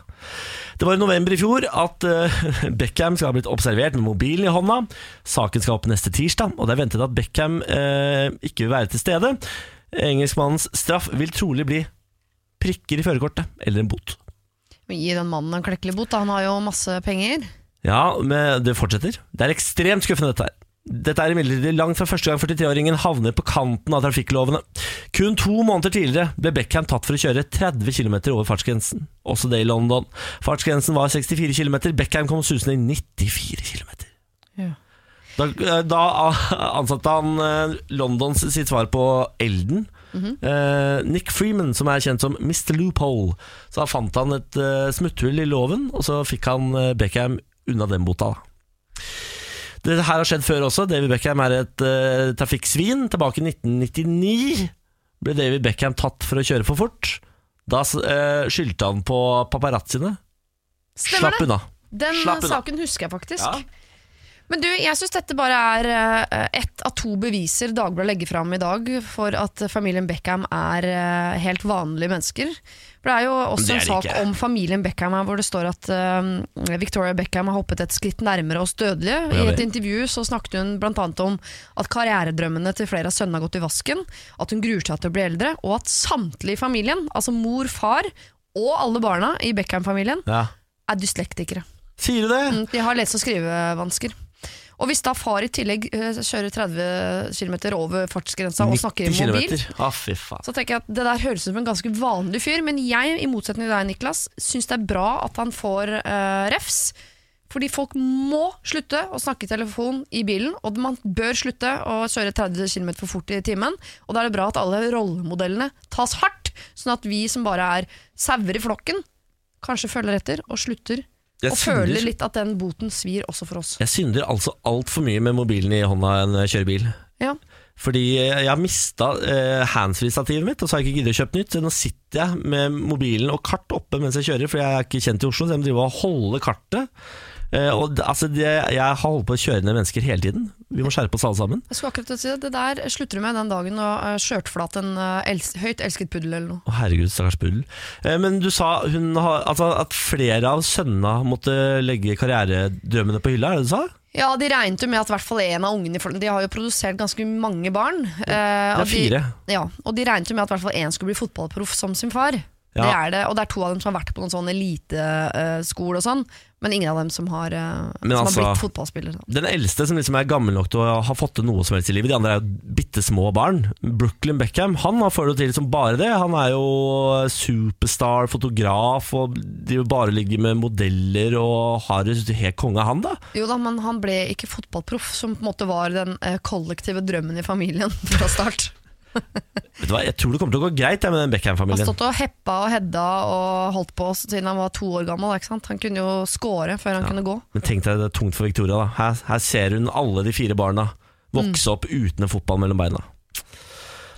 Det var i november i fjor at eh, Beckham skal ha blitt observert med mobilen i hånda. Saken skal opp neste tirsdag, og det er ventet at Beckham eh, ikke vil være til stede. Engelskmannens straff vil trolig bli prikker i førerkortet, eller en bot. Men Gi den mannen en klekkelig bot, da. han har jo masse penger. Ja, men det fortsetter. Det er ekstremt skuffende dette her. Dette er imidlertid langt fra første gang 43-åringen havner på kanten av trafikklovene. Kun to måneder tidligere ble Beckham tatt for å kjøre 30 km over fartsgrensen, også det i London. Fartsgrensen var 64 km, Beckham kom susende i 94 km. Ja. Da, eh, da ansatte han eh, Londons sitt svar på Elden. Mhm. Eh, Nick Freeman, som er kjent som Mr. Loophole. Så da fant han et eh, smutthull i loven, og så fikk han eh, Beckham unna den bota. da. Dette her har skjedd før også. David Beckham er et eh, trafikksvin. Tilbake i 1999 ble David Beckham tatt for å kjøre for fort. Da eh, skyldte han på paparazziene. Stemmer Slapp det. unna. Den Slapp unna. saken husker jeg faktisk. Ja. Men du, jeg syns dette bare er eh, ett av to beviser Dagbladet legger fram i dag for at familien Beckham er eh, helt vanlige mennesker. For det er jo Men også det er en det sak ikke. om familien Beckham her hvor det står at eh, Victoria Beckham har hoppet et skritt nærmere oss dødelige. Ja I et vel. intervju så snakket hun bl.a. om at karrieredrømmene til flere av sønnene har gått i vasken, at hun gruer seg til å bli eldre, og at samtlige i familien, altså mor, far og alle barna i Beckham-familien, Ja. er dyslektikere. Sier du det? Mm, De har lese- og skrivevansker. Og hvis da far i tillegg eh, kjører 30 km over fartsgrensa og snakker i mobil, kilometer. Ah, fy faen. så tenker jeg at det der høres ut som en ganske vanlig fyr. Men jeg, i motsetning til deg, Niklas, syns det er bra at han får eh, refs. Fordi folk må slutte å snakke i telefon i bilen, og man bør slutte å kjøre 30 km for fort i timen. Og da er det bra at alle rollemodellene tas hardt, sånn at vi som bare er sauer i flokken, kanskje følger etter og slutter. Jeg og synder. føler litt at den boten svir også for oss. Jeg synder altså altfor mye med mobilen i hånda når jeg kjører bil. Ja. Fordi jeg har mista eh, handsfree-stativet mitt, og så har jeg ikke giddet å kjøpe nytt. Så nå sitter jeg med mobilen og kart oppe mens jeg kjører, for jeg er ikke kjent i Oslo, så jeg må drive og holde kartet. Eh, og d- altså, det, jeg har holdt på å kjøre ned mennesker hele tiden. Vi må skjerpe oss alle sammen. Jeg skulle akkurat til å si Det Det der slutter du med den dagen og uh, skjørtflat en eh, els høyt elsket puddel eller noe. Å, herregud, stakkars puddel. Eh, men du sa hun har, altså, at flere av sønna måtte legge karrieredrømmene på hylla, er det det du sa? Ja, De regnet jo med at i hvert fall en av ungene i flokken De har jo produsert ganske mange barn. eh, Det og er de- fire. Ja, og de regnet jo med at i hvert fall én skulle bli fotballproff som sin far. Ja. Det er det, og det er to av dem som har vært på noen sånn eliteskole og sånn, men ingen av dem som har, eh, som Men altså- har blitt fotballspiller. Den eldste som liksom er gammel nok til å ha fått til noe som helst i livet, de andre er jo bitte små barn. Brooklyn Beckham han har fått det til som bare det. Han er jo superstar, fotograf, og de jo bare ligger med modeller og har det helt konge, han da. Jo da, men han ble ikke fotballproff, som på en måte var den eh, kollektive drømmen i familien fra start. Vet du hva, Jeg tror det kommer til å gå greit jeg, med den Han har Beckham-familien. stått og heppa og hedda og holdt på siden han var to år gammel. Ikke sant? Han kunne jo score før han kunne gå. Men tenk deg det er tungt for Victoria. da Her, her ser hun alle de fire barna vokse opp uten en fotball mellom beina.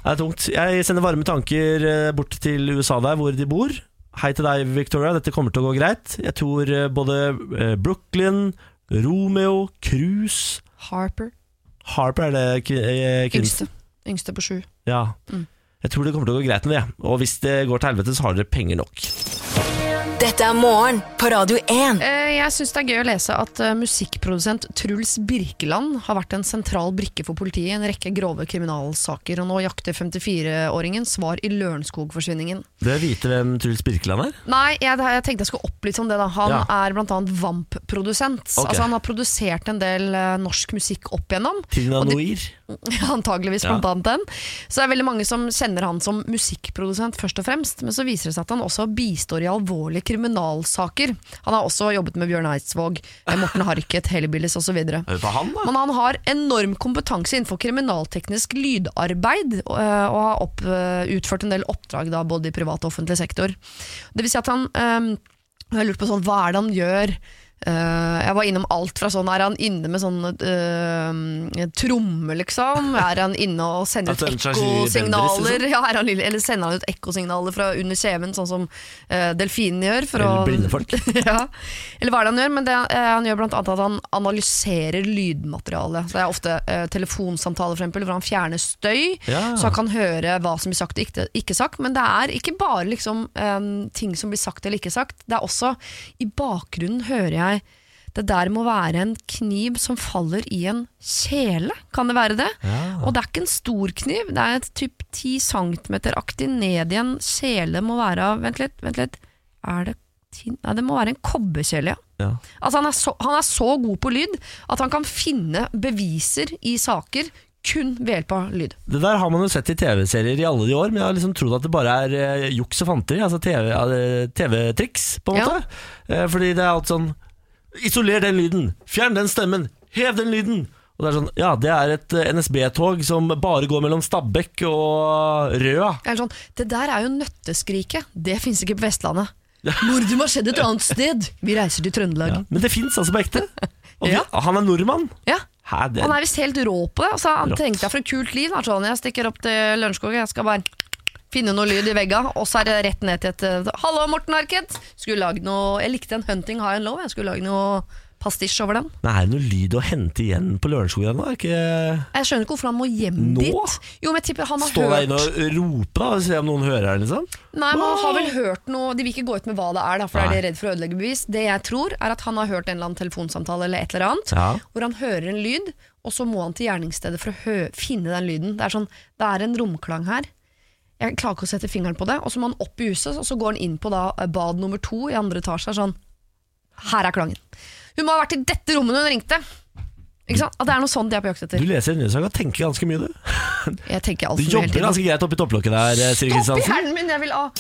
Det er tungt. Jeg sender varme tanker eh, bort til USA der hvor de bor. Hei til deg, Victoria. Dette kommer til å gå greit. Jeg tror eh, både eh, Brooklyn, Romeo, Cruise Harper. Harper er det kvi- eh, kvinnens? Yngste. Yngste på sju. Ja. Mm. Jeg tror det kommer til å gå greit med det. Og hvis det går til helvete, så har dere penger nok. Dette er morgen på Radio 1. Eh, Jeg syns det er gøy å lese at eh, musikkprodusent Truls Birkeland har vært en sentral brikke for politiet i en rekke grove kriminalsaker, og nå jakter 54-åringen svar i Lørenskog-forsvinningen. Du vil vite hvem Truls Birkeland er? Nei, jeg, jeg tenkte jeg skulle opp litt om det. da Han Ja. er blant annet Vamp-produsent. Ok. Altså Han har produsert en del eh, norsk musikk opp igjennom. Tina Og det- Noir. Antageligvis Ja. blant annet den. Så det er veldig mange som kjenner han som musikkprodusent først og fremst, men så viser det seg at han også bistår i alvorlige kriminalsaker. Han har også jobbet med Bjørn Eidsvåg, eh, Morten Harket, Hellbillies osv. Hør på han, da. Men han har enorm kompetanse innenfor kriminalteknisk lydarbeid, og, eh, og har opp, eh, utført en del oppdrag da, både i privat og offentlig sektor. Det vil si at han eh, Jeg lurte på sånn, hva er det han gjør? Eh, jeg var innom alt fra sånn Er han inne med sånn eh, tromme, liksom? Er han inne og sender ut At han slags Lilly Bendriss, liksom? ekkosignaler? Ja, er han lille- eller sender han ut ekkosignaler fra under kjeven, sånn som uh, delfinene gjør? For Eller å- blinde folk. ja. Eller hva er det han gjør? Men det, eh, han gjør blant annet at han analyserer lydmaterialet. Så Det er ofte eh, telefonsamtaler, for eksempel, hvor han fjerner støy, Ja. så han kan høre hva som blir sagt og ikke, ikke sagt. Men det er ikke bare liksom, eh, ting som blir sagt eller ikke sagt. Det er også I bakgrunnen hører jeg det der må være en kniv som faller i en kjele, kan det være det? Og det er ikke en stor kniv, det er et typ 10 cm-aktig ned i en kjele må være av Vent litt, vent litt. Er det tin... Nei, det må være en kobberkjele, ja. Ja. Altså, han er, så, han er så god på lyd at han kan finne beviser i saker kun ved hjelp av lyd. Det der har man jo sett i TV-serier i alle de år, men jeg har liksom trodd at det bare er eh, juks og fanteri. Altså TV eh, TV-triks, på en Ja. måte. Eh, fordi det er alt sånn Isoler den lyden! Fjern den stemmen! Hev den lyden! Og det er sånn Ja, det er et eh, NSB-tog som bare går mellom Stabekk og Røa. Eller sånn, det der er jo nøtteskriket, det fins ikke på Vestlandet. Mordet må ha skjedd et annet sted! Vi reiser til Trøndelag. Men det fins altså på ekte. Og vi, Ja. han er nordmann. Ja. Hæ, det, Han er visst helt rå på det. Altså, han Rått. tenkte jeg for et kult liv. da, Sånn, jeg stikker opp til Lørenskog, jeg skal bare finne noe lyd i vegga, og så er det rett ned til et eh, Hallo, Morten Arket! Skulle lage noe Jeg likte en Hunting High and Low. Jeg skulle lage noe pastisj over den. Men er det noe lyd å hente igjen på Lørenskog ennå? Er ikke- Jeg skjønner ikke hvorfor han må hjem Nå? dit. Jo, men jeg tipper han har Stå der hørt inne og rope da, og se om noen hører her, liksom? Nei, men han har vel hørt noe De vil ikke gå ut med hva det er, da, for da Nei. er de redd for å ødelegge bevis. Det jeg tror, er at han har hørt en eller annen telefonsamtale eller et eller annet, Ja. hvor han hører en lyd, og så må han til gjerningsstedet for å hø finne den lyden. Det er sånn, det er en romklang her. Jeg klarer ikke å sette fingeren på det. Og så må han opp i huset, og så går han inn på da eh, bad nummer to i andre etasje. er Sånn, her er klangen. Hun må ha vært i dette rommet når hun ringte! Ikke sant? At det er noe sånt de er på jakt Du etter. leser nyhetssaker og tenker ganske mye, du. Jeg tenker alt Du for mye hele jobber tiden. ganske greit oppi topplokket der, eh, Siri Stopp i Kristiansen. hjernen min! Jeg vil av!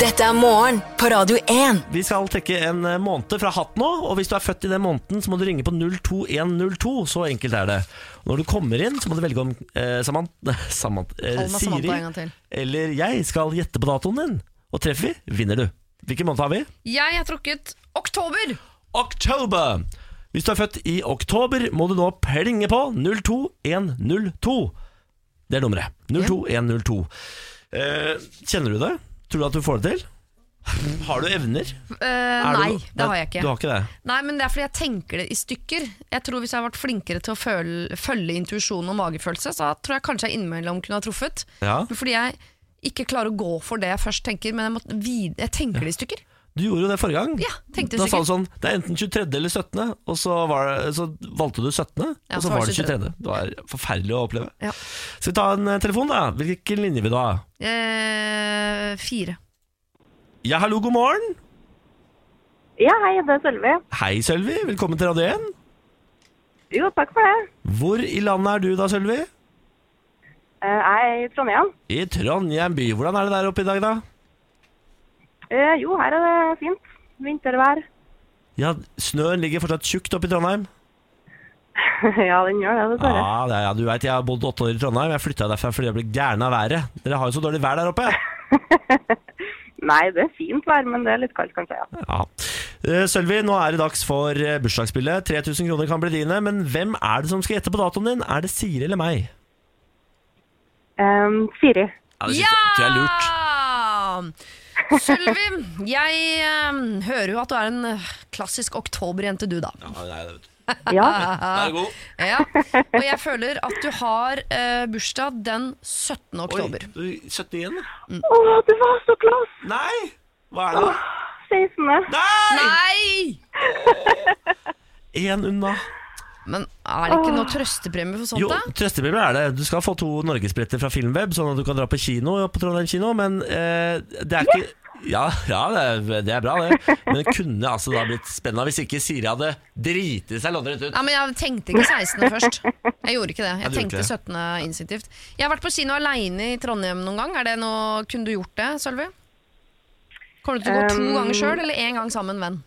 Dette er morgen på Radio 1. Vi skal trekke en eh, måned fra hatt nå, og hvis du er født i den måneden, så må du ringe på 02102. Så enkelt er det. Og når du kommer inn, så må du velge om eh, Samant, Samant, eh, Kall meg Samantha en Siri gang til. eller jeg skal gjette på datoen din. Og treffer vi, vinner du. Hvilken måned har vi? Jeg har trukket oktober! Oktober. Hvis du er født i oktober, må du nå plinge på 02102. Det er nummeret. 02102. Eh, kjenner du det? Tror du at du får det til? Har du evner? Eh, Er du nei, no- det har jeg ikke. Du har ikke det? Nei, men Det er fordi jeg tenker det i stykker. Jeg tror Hvis jeg hadde vært flinkere til å føle, følge intuisjon og magefølelse, så tror jeg kanskje jeg innimellom kunne ha truffet. Ja. Men fordi jeg ikke klarer å gå for det jeg først tenker, men jeg, må vid jeg tenker det i stykker. Du gjorde jo det forrige gang. Ja, tenkte da sa sikkert. du sånn Det er enten 23. eller 17., og så, var det, så valgte du 17., Ja, og så var det 23. Det var forferdelig å oppleve. Ja. Skal vi ta en eh, telefon, da? Hvilken linje vil du ha? Eh, fire. Ja, hallo, god morgen. Ja, hei, det er Sølvi. Hei, Sølvi. Velkommen til Radio 1. Jo, takk for det. Hvor i landet er du da, Sølvi? Eh, Jeg er i Trondheim. I Trondheim by. Hvordan er det der oppe i dag, da? Eh, Jo, her er det fint. Vintervær. Ja, Snøen ligger fortsatt tjukt oppe i Trondheim. ja, den gjør det, Ja, dessverre. det er, ja, du vet, Jeg har bodd åtte år i Trondheim. Jeg flytta derfra fordi jeg ble gæren av været. Dere har jo så dårlig vær der oppe. Ah. Nei, det er fint vær, men det er litt kaldt, kanskje. ja. Ja. Eh, Sølvi, nå er det dags for eh, bursdagsspillet. 3000 kroner kan bli dine. Men hvem er det som skal gjette på datoen din? Er det Siri eller meg? Em, Siri. Ja! Sølvi, jeg eh, hører jo at du er en eh, klassisk oktoberjente, du, da. Ja, Ja. Og jeg føler at du har eh, bursdag den 17. oktober. Oi, du, 17 igjen? da? Å, du var så close! Nei! Hva er det, da? Jasene. Nei! Nei! Én unna. Men er det ikke noe trøstepremie for sånt, Jo, da? trøstepremie er det. Du skal få to norgesbilletter fra Filmweb, sånn at du kan dra på kino på Trondheim kino, men eh, det er ikke ja, ja det, er, det er bra, det. Men det kunne altså da blitt spennende hvis ikke Siri hadde driti seg loddrett ut. Nei, men Jeg tenkte ikke 16. først. Jeg gjorde ikke det. Jeg du gjorde ikke tenkte det. 17. instinktivt. Jeg har vært på kino aleine i Trondheim noen gang. Er det noe, kunne du gjort det, Sølvi? Kommer du til å gå to Um, ganger sjøl, eller én gang sammen med en venn?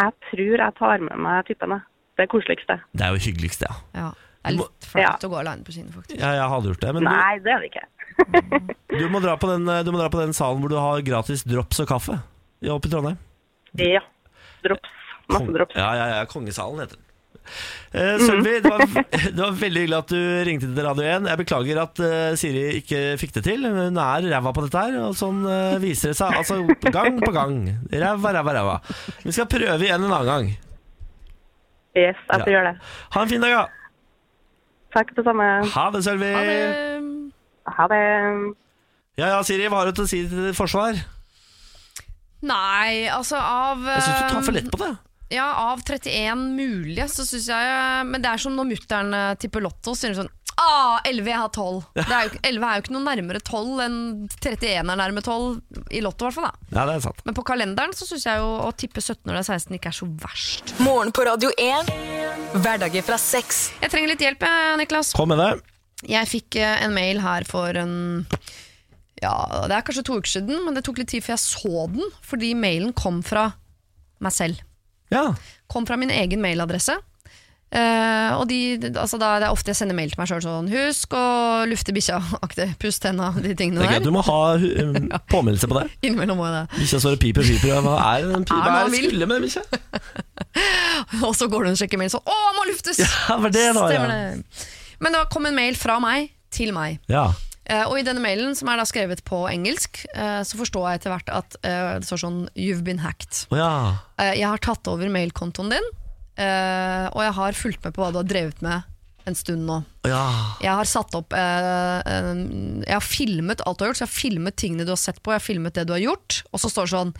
Jeg tror jeg tar med meg typene. Det er koseligste. Det er jo hyggeligst, ja. Ja. Det er Du må- litt flaut Ja. å gå aleine på kino, faktisk. ja. Jeg hadde gjort det, men du, Nei, det er det ikke. du, må dra på den, eh, du må dra på den salen hvor du har gratis drops og kaffe. Ja, oppe i Trondheim. Ja. Drops. Masse drops. Sånn, Ja, ja, ja, Kongesalen heter den. Eh, Sølvi, det, var, det var veldig hyggelig at du ringte til Radio 1. Jeg beklager at eh, Siri ikke fikk det til. Hun er ræva på dette her, og sånn eh, viser det seg. Altså gang på gang. Ræva, ræva, ræva. Vi skal prøve igjen en annen gang. Yes, jeg Ja. skal gjøre det. Ha en fin dag, da. Takk, det samme. Ha det, Sølvi. Ha det. Ha det. Ja ja, Siri, hva har du til å si til ditt forsvar? Nei, altså av Jeg syns du tar for lett på det. Ja, av 31 mulige, så syns jeg Men det er som når mutter'n eh, tipper Lotto, så sier hun sånn Ah, 11, jeg har 12. Det er jo, ikke- 11 er jo ikke noe nærmere 12 enn 31 er nærme 12, i Lotto i hvert fall. da. Ja, det er sant. Men på kalenderen så syns jeg jo å tippe 17 når det er 16 ikke er så verst. Morgen på Radio 1. Hverdager fra seks. Jeg trenger litt hjelp, jeg, Niklas. Kom med det. Jeg fikk eh, en mail her for en Ja, det er kanskje to uker siden, men det tok litt tid før jeg så den, fordi mailen kom fra meg selv. Ja. kom fra min egen mailadresse. Eh, og de, altså da, det er ofte jeg sender mail til meg sjøl sånn Husk å lufte bikkja, aktig. Puss tenna, de Det tingene er gøy at der. du må ha um, påminnelse på det. Innimellom må jeg det. Bikkja står og piper, piper. Hva er den Er pipa? det Hva er han det vil? skulle med den bikkja? Og så går du og sjekker mail sånn Å, må luftes! Ja, det var det da, ja. Stemmer det. Men det kom en mail fra meg til meg. Ja. Eh, og i denne mailen, som er da skrevet på engelsk, eh, så forstår jeg etter hvert at eh, det står sånn You've been hacked. Å ja. Eh, jeg har tatt over mailkontoen din, eh, og jeg har fulgt med på hva du har drevet med en stund nå. Å ja. Jeg har satt opp eh, eh, Jeg har filmet alt du har gjort. Så jeg har filmet tingene du har sett på, jeg har filmet det du har gjort. Og så står det sånn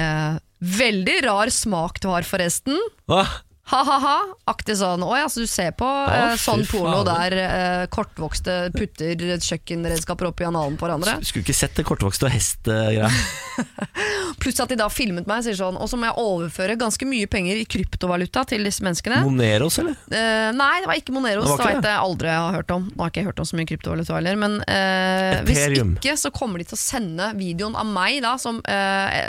eh, Veldig rar smak du har, forresten. Åh, Ha-ha-ha. Aktig sånn. Å ja, så du ser på Å, eh, fy sånn porno fader. der eh, kortvokste putter kjøkkenredskaper oppi analen på hverandre. Skulle ikke sett det kortvokste og hest-greia. Pluss at de da filmet meg og sier sånn. Og så må jeg overføre ganske mye penger i kryptovaluta til disse menneskene. Moneros, eller? Eh, nei, det var ikke Moneros. Det Det, var ikke vet jeg aldri jeg har hørt om. Nå har ikke jeg hørt om så mye kryptovaluta heller. Men eh, hvis Ethereum. ikke, så kommer de til å sende videoen av meg, da, som eh,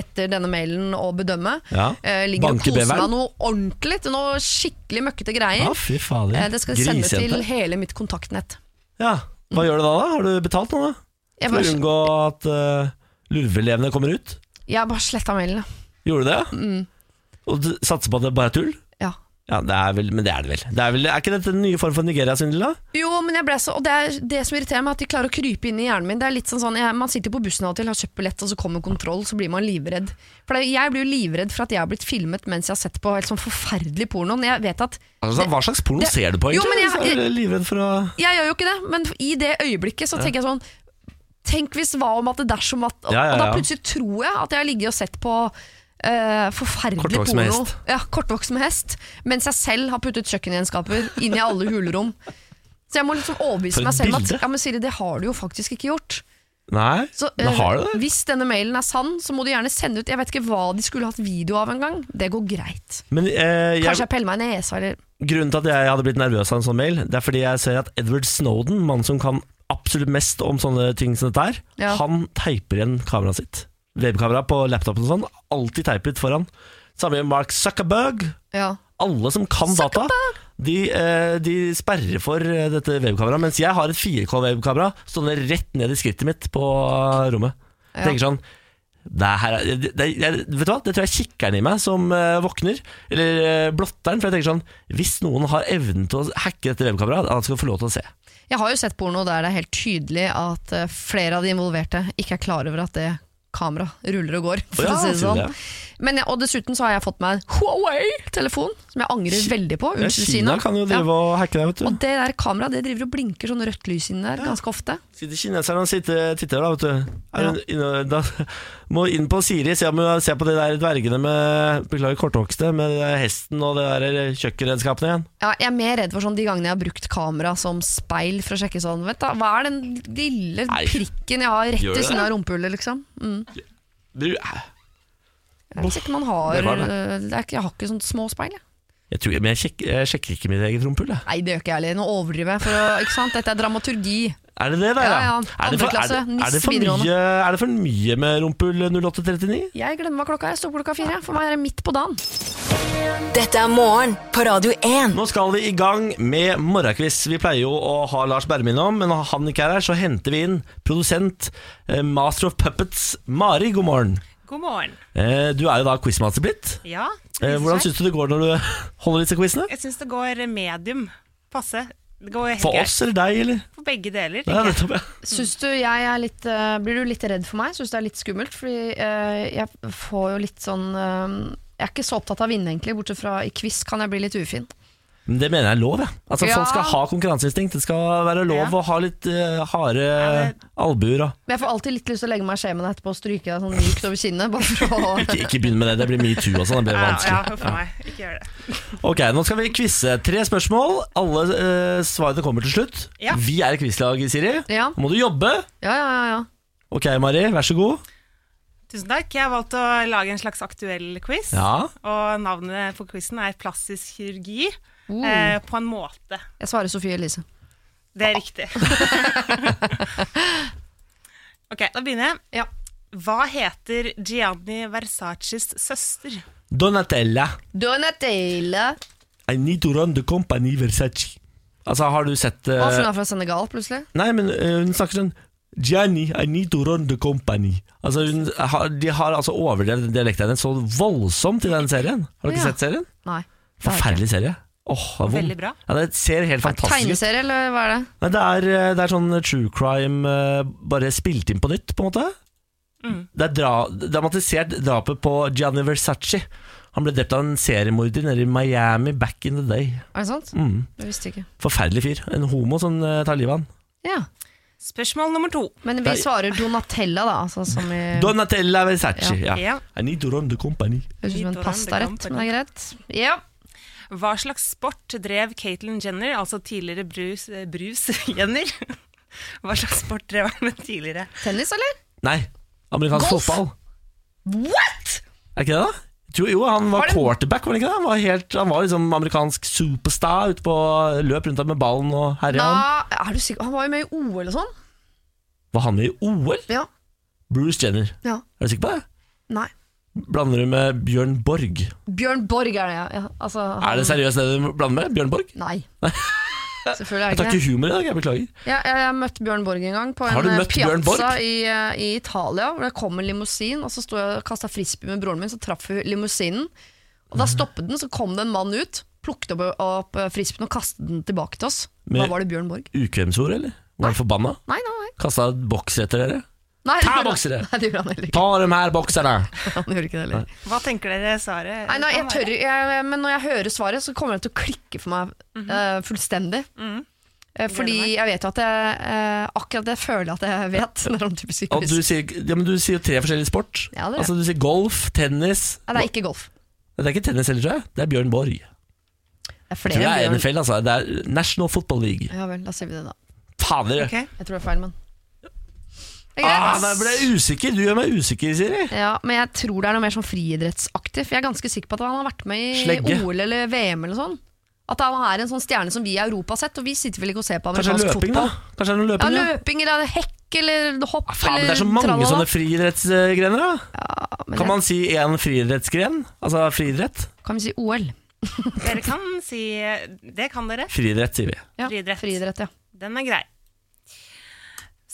etter denne mailen å bedømme, Ja. eh, ligger og Banker koser beveren. meg noe ordentlig til noe skikkelig møkkete Å, greier. fy fader. Eh, det skal de sende til hele mitt kontaktnett. Ja. Hva gjør du da, da? Har du betalt nå, da? Jeg For å bare, unngå at uh, lurveelevene kommer ut? jeg bare sletta mailene. Gjorde du det? ja? Mm. Og du satser på at det bare er tull? Ja. Ja, det er vel, Men det er det vel. Det er, vel, er ikke dette den nye form for Nigeria, Sindela? Jo, men jeg ble så, og det er det som irriterer meg, at de klarer å krype inn i hjernen min. Det er litt sånn sånn, jeg, Man sitter på bussen av og til, har kjøpt billett, og så kommer kontroll, så blir man livredd. For det, Jeg blir jo livredd for at jeg har blitt filmet mens jeg har sett på helt sånn forferdelig porno. Men jeg vet at Altså, hva slags porno det- ser du på, Jo, egentlig? men jeg- Så er du livredd for å Jeg gjør jo ikke det, men i det øyeblikket så tenker jeg sånn Tenk hvis hva om at det dersom at og- Ja, ja, Og da ja. plutselig tror jeg at jeg har ligget og sett på eh, forferdelig Kortvokst med porno. hest. Ja, kortvokst med hest. Mens jeg selv har puttet kjøkkengjenskaper inn i alle hulrom. Så jeg må liksom For overbevise et meg selv om at bilde. ja, men Siri, det har du jo faktisk ikke gjort. Nei, Så, da eh, har du det. Hvis denne mailen er sann, så må du gjerne sende ut Jeg vet ikke hva de skulle hatt video av engang. Det går greit. Men eh, jeg, Kanskje jeg peller meg i nesa, eller Grunnen til at jeg hadde blitt nervøs av en sånn mail, det er fordi jeg ser at Edward Snowden, mannen som kan absolutt mest om sånne ting som dette her, Ja. han teiper igjen kameraet sitt. Webkamera på laptopen og sånn, alltid teipet foran. Samme med Mark Zuckerberg. Ja. Alle som kan data, de, eh, de sperrer for eh, dette webkameraet. Mens jeg har et 4K-webkamera stående rett ned i skrittet mitt på eh, rommet. Ja. Tenker sånn det her er, det, det, jeg, vet du hva? Det tror jeg er kikkeren i meg som eh, våkner, eller eh, blotteren. For jeg tenker sånn Hvis noen har evnen til å hacke dette webkameraet, han skal få lov til å se. Jeg har jo sett porno der det er helt tydelig at eh, flere av de involverte ikke er klar over at det kamera ruller og går. For Ja, å si det sier sånn. det. Men jeg, og dessuten så har jeg fått meg en Huawei-telefon, som jeg angrer veldig på. Ja, Unnskyld, Kina kan jo drive Ja. og hacke deg, Og vet du. det der kameraet det driver og blinker sånn rødt lys inni der ganske ofte. Sitter kineserne og sitter, titter da, vet du. Er Ja. hun inne, da må inn på Siri, se, om hun ser på de der dvergene med Beklager kortvokste, med det der hesten og det der kjøkkenredskapene igjen. Ja, jeg er mer redd for sånn de gangene jeg har brukt kamera som speil for å sjekke sånn. Vet du, hva er den lille Nei. prikken jeg har rett Gjør ved det siden av rumpehullet, liksom? Mm. Du, Jeg vet ikke om man det har var det. øh, det er ikke, Jeg har ikke sånne små speil, jeg. jeg, tror, men jeg, sjekker, jeg sjekker ikke mitt eget rumpehull, jeg. Nei, det gjør ikke jeg heller. Nå overdriver jeg. For å, ikke sant? Dette er dramaturgi. Er det det der, Ja, ja. Er det for, er, Andreklasse, det- er, det NIS for mye, videregående. er det for mye med rumpehull 0839? Jeg glemmer hva klokka er. Jeg står på klokka fire. For meg er det midt på dagen. Dette er morgen på Radio 1. Nå skal vi i gang med morgenquiz. Vi pleier jo å ha Lars Berrum innom, men når han ikke er her, så henter vi inn produsent, eh, master of puppets, Mari. God morgen. God morgen. Eh, Du er jo da quizmaster blitt. Ja, Eh, Hvordan viser seg. syns du det går når du holder disse quizene? Jeg syns det går medium passe. Det går helt For greit. oss eller deg, eller? For begge deler. Ja, tenker jeg. nettopp, ja. Syns du jeg er litt øh, Blir du litt redd for meg? Syns det er litt skummelt? Fordi øh, jeg får jo litt sånn øh, Jeg er ikke så opptatt av å vinne, egentlig. Bortsett fra i quiz kan jeg bli litt ufin. Men det mener jeg er lov, jeg. Altså, Ja. Folk skal ha konkurranseinstinkt. Det skal være lov Ja. å ha litt eh, harde Ja, det- albuer og Men jeg får alltid litt lyst til å legge meg i skjemen etterpå og stryke deg sånn mykt over kinnet. Bare for å Ikke, ikke begynn med det, det blir metoo og sånn. Det blir Ja, ja, vanskelig. huff a meg. Ikke gjør det. Ok, Nå skal vi quize. Tre spørsmål. Alle eh, svarene kommer til slutt. Ja. Vi er et quizlag, Siri. Ja, Nå må du jobbe. ja, ja. ja, ja. Ok, Mari, vær så god. Tusen takk. Jeg har valgt å lage en slags aktuell quiz. Ja. Og navnet på quizen er plastisk kirurgi eh, på en måte. Jeg svarer Sofie Elise. Det er riktig. ok, da begynner jeg. Ja. Hva heter Gianni Versaces søster? Donatella. Donatella. I need to run the company Versace. Altså, har du sett eh, Å, for hun er fra Senegal, plutselig. Nei, men eh, hun snakker sånn Gianni, I need to run the company. Altså, hun, har- de har altså overdrevet dialekten hennes så voldsomt i den serien. Har du ikke Ja. sett serien? Nei. det har jeg ikke. Forferdelig serie. Åh, det er vond. Veldig bra. Ja, det ser helt fantastisk ut. Tegneserie, eller hva er det? Nei, Det, er, eh, det er sånn true crime, eh, bare spilt inn på nytt, på en måte. Mm. Det er dra dramatisert drapet på Gianni Versace. Han ble drept av en seriemorder nede i Miami back in the day. Er det sant? Mm. Jeg visste ikke. Forferdelig fyr. En homo som eh, tar livet av han. Ja. Spørsmål nummer to. Men vi Nei. svarer Donatella, da. Altså, som i Donatella Versace. Ja. Ja. I need to run the company. Høres ut som en pastarett, men det er greit. Ja. Hva slags sport drev Caitlyn Jenner, altså tidligere Bruce, eh, Bruce Jenner? Hva slags sport drev han med tidligere? Tennis, eller? Nei, amerikansk Golf? fotball. What?! Er ikke det, da? Jeg tror, jo, han var, Var det- quarterback, var han ikke det? Han var, helt, han var liksom amerikansk superstar ute på løp rundt med ballen og herja. han. Da, er du sikker? Han var jo med i OL og sånn. Var han med i OL? Ja. Bruce Jenner. Ja. Er du sikker på det? Nei. Blander du med Bjørn Borg? Bjørn Borg er det, ja. ja. Altså, han- Er det seriøst det du blander med? Bjørn Borg? Nei. Selvfølgelig er Jeg det tar ikke det. ikke humor i dag, jeg beklager. Ja, jeg, jeg møtte Bjørn Borg en gang på Har en du eh, møtt Bjørn piazza Borg? i, eh, i Italia. Hvor det kom en limousin, og så sto jeg og kasta frisbee med broren min, så traff vi limousinen. Og da stoppet den, så kom det en mann ut, plukket opp, opp eh, frisbeen og kastet den tilbake til oss. Men- Da var det Bjørn Borg. Ukvemsord, eller? Var han forbanna? Nei, nei, nei. Kasta bokser etter dere? nei det Ta gjorde han- boksere! Nei, det gjorde han heller ikke. Ta dem her bokserne! Han gjorde ikke det heller. Hva tenker dere svaret Nei, nei, jeg kan være? tør, jeg, men når jeg hører svaret, så kommer det til å klikke for meg Mhm. eh, fullstendig. Eh, fordi jeg vet jo at jeg eh, akkurat det føler jeg at jeg vet. Når om typisk Og du quiz. sier, ja, men du sier jo tre forskjellige sport. Ja, det er altså, du sier golf, tennis Nei, det er ikke golf. Nei, Det er ikke tennis heller, tror jeg. Det er Bjørn Borg. Jeg Det er tror flere det er Bjørn- NFL, altså. Det er National Football League. Ja vel, da sier vi det, da. Fader! Ok. Jeg tror det er feil, men Det er Ah, greit. nei, ble jeg usikker. Du gjør meg usikker, Siri. ja, men jeg tror det er noe mer sånn friidrettsaktig. For jeg er ganske sikker på at han har vært med i Slegge. OL eller VM eller sånn. At han er en sånn stjerne som vi i Europa har sett, og vi sitter vel ikke og ser på Kanskje det amerikansk er løping, da? fotball. Kanskje det er noe Ja, løping, ja. løping eller hekk eller hopp Ah, Faen, men eller det er så mange tralala. sånne friidrettsgrener, da. Ja, men Kan jeg- man si én friidrettsgren? Altså friidrett? kan vi si OL? Dere kan si eh, Det kan dere. Friidrett, sier vi. Ja, Friidrett. ja. Den er grei.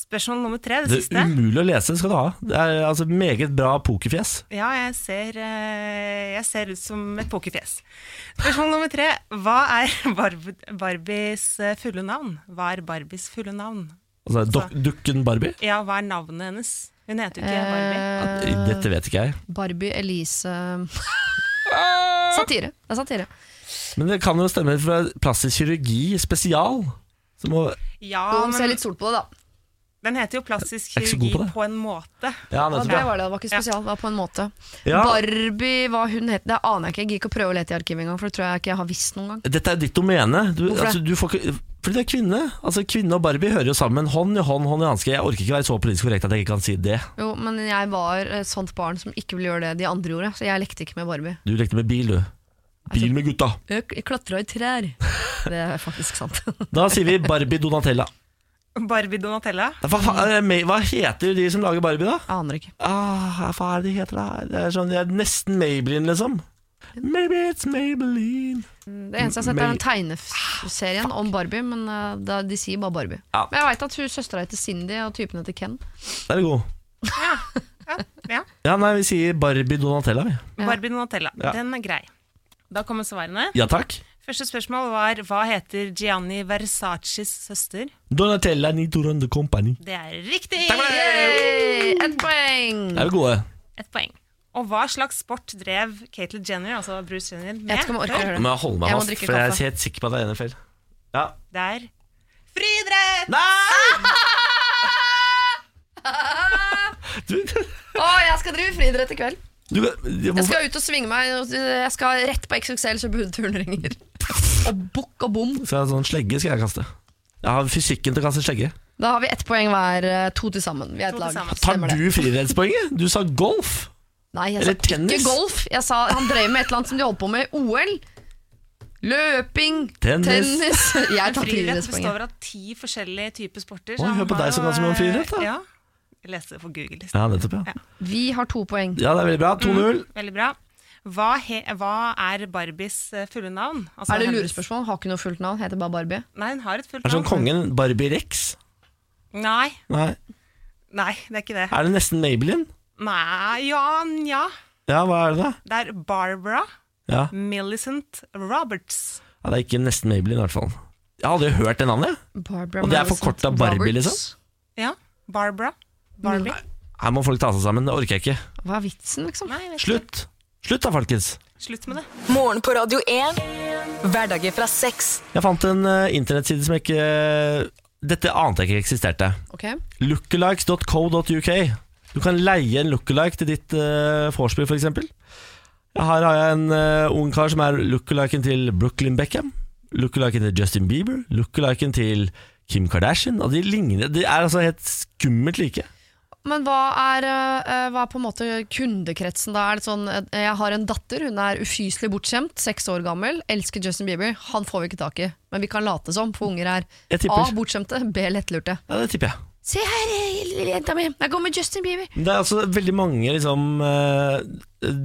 Spørsmål nummer tre, det Det Mm. siste. er umulig å lese, skal du ha. Det er altså meget bra pokerfjes. Ja, jeg ser, eh, jeg ser ut som et pokerfjes. Spørsmål nummer tre. Hva er Barb Barbies eh, fulle navn? Hva er Barbies fulle navn? Altså dok- dukken Barbie. Ja, hva er navnet hennes? Hun heter jo Eh, ikke Barbie. Dette vet ikke jeg. Barbie Elise um, Satire. Det er satire. Men det kan jo stemme fra plastisk kirurgi spesial. Som må, Ja, Jo, Se men litt sol på det, da. den heter jo plastisk Jeg er ikke så god kirurgi på på, det. en måte. ja, Ja, nettopp, det ja. var det, det var ikke spesial, det var på en måte. Ja. Barbie, hva hun het, det aner jeg ikke. Jeg gidder ikke å prøve å lete i arkivet engang, for det tror jeg ikke jeg har visst noen gang. Dette er ditt domene. Du, Hvorfor det? altså, du får ikke, fordi du er kvinne. Altså, kvinne og Barbie hører jo sammen. Hånd i hånd, hånd i hanske. Jeg orker ikke være så politisk korrekt at jeg ikke kan si det. Jo, men jeg var et sånt barn som ikke ville gjøre det de andre gjorde, så jeg lekte ikke med Barbie. Du lekte med bil, du. Bil med gutta. Jeg klatra i trær. Det er faktisk sant. Da sier vi Barbie Donatella. Barbie Donatella. Hva, faen er det med- hva heter de som lager Barbie, da? Aner ikke. Ah, hva er det de heter, da? Det er, sånn, det er nesten Maybelline, liksom. Maybe it's Maybelline. Det eneste jeg har sett, er den tegneserien om Barbie, men eh, da, de sier bare Barbie. Ja. Men jeg veit at hun søstera heter Cindy, og typen heter Ken. Der er du god. Ja, ja. Ja, nei, vi sier Barbie Donatella, vi. Ja. Barbie Donatella. Ja. Den er grei. Da kommer svarene. Ja takk. Første spørsmål var hva heter Gianni Versaces søster? Donatella Nitorande Company. Det er riktig! Hey, Ett poeng! Er vi gode? Et poeng. Og hva slags sport drev Caitlyn Jenner, altså Bruce Jenner, Jeg vet ikke om jeg med? orker å Nå høre må det. jeg holde meg Jeg må fast, drikke for jeg kaffe. er helt sikker på at det er enig feil. Ja. Det er friidrett! Nei! Du, Å, jeg skal drive friidrett i kveld. du, hvorfor- Jeg skal ut og svinge meg. Jeg skal rett på XXL, kjøpe hundeturnringer. Og bukk og bom. skal jeg ha sånn slegge skal jeg kaste. Jeg har fysikken til å kaste slegge. Da har vi ett poeng hver. eh, To til sammen. Vi er To et til lag. sammen. Tar Stemmer det. du friidrettspoenget? Du sa golf. Nei, jeg sa Eller ikke tennis? golf. Jeg sa han drev med et eller annet som de holdt på med i OL. Løping, Tennis. tennis, Jeg tar Friidrett friidrettspoenget. består av ti forskjellige typer sporter. Oi, så hør han på har deg som jo, kan så mye om friidrett, da. eh, Ja. Jeg leste det på Google. i sted. Ja, nettopp, ja. Vi har to poeng. Ja, det er veldig bra. Mm. 2-0. Veldig bra. Hva, he, hva er Barbies eh, fulle navn? Altså, Er det hennes- lurespørsmål? Har ikke noe fullt navn. Heter bare Barbie. Nei, hun har et fullt Er det navn. sånn kongen Barbie Rex? Nei, Nei. nei, det er ikke det. Er det nesten Maybelline? Nei, ja, nja. Ja, hva er det da? Det er Barbara Ja, Millicent Roberts. ja Det er ikke nesten Maybelline, i hvert fall. Jeg har aldri hørt det navnet. Barbara Og det er Madison forkortet Barbie, Roberts. liksom? Ja, Barbara. Barbie. Her må folk ta seg sammen. Det orker jeg ikke. Hva er vitsen, liksom? Nei, jeg vet Slutt! Slutt da, folkens. ikke. Slutt med det. Morgen på Radio 1. Hverdager fra seks. Jeg fant en eh, internettside som jeg ikke eh, Dette ante jeg ikke eksisterte. Ok, Lookalikes.co.uk. Du kan leie en lookalike til ditt uh, vorspiel, f.eks. Her har jeg en eh, ung kar som er lookaliken til Brooklyn Beckham. Lookaliken til Justin Bieber. Lookaliken til Kim Kardashian. Og de ligner De er altså helt skummelt like. Men hva er, eh, hva er på en måte kundekretsen da? Er det sånn, eh, jeg har en datter, hun er ufyselig bortskjemt, seks år gammel, elsker Justin Bieber. Han får vi ikke tak i, men vi kan late som, for unger er Jeg tipper. A. Bortskjemte, B. Lettlurte. Ja, Det tipper jeg. Se her, eh, jenta mi, jeg går med Justin Bieber. Men Det er altså veldig mange liksom, eh,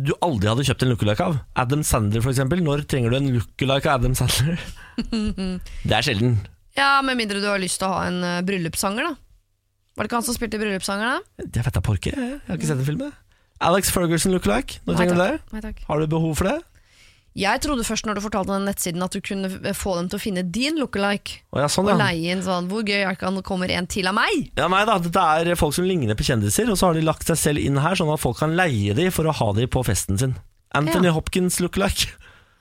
du aldri hadde kjøpt en lookalike av. Adam Sandler, f.eks. Når trenger du en lookalike av Adam Sandler? det er sjelden. Ja, med mindre du har lyst til å ha en eh, bryllupssanger, da. Var det ikke han som spilte i bryllupssanger, da? Jeg vet da porke. Jeg har ikke sett den filmen. Alex Ferguson lookalike. Når Nei, trenger du det? takk. Nei, takk. Har du behov for det? Jeg trodde først når du fortalte den nettsiden at du kunne eh, få dem til å finne din lookalike. Å, ja, sånn, Og ja. leie inn sånn, hvor gøy er det ikke at det kommer en til av meg? ja, nei da. Dette er folk som ligner på kjendiser, og så har de lagt seg selv inn her, sånn at folk kan leie de for å ha de på festen sin. Anthony Ja. Hopkins lookalike.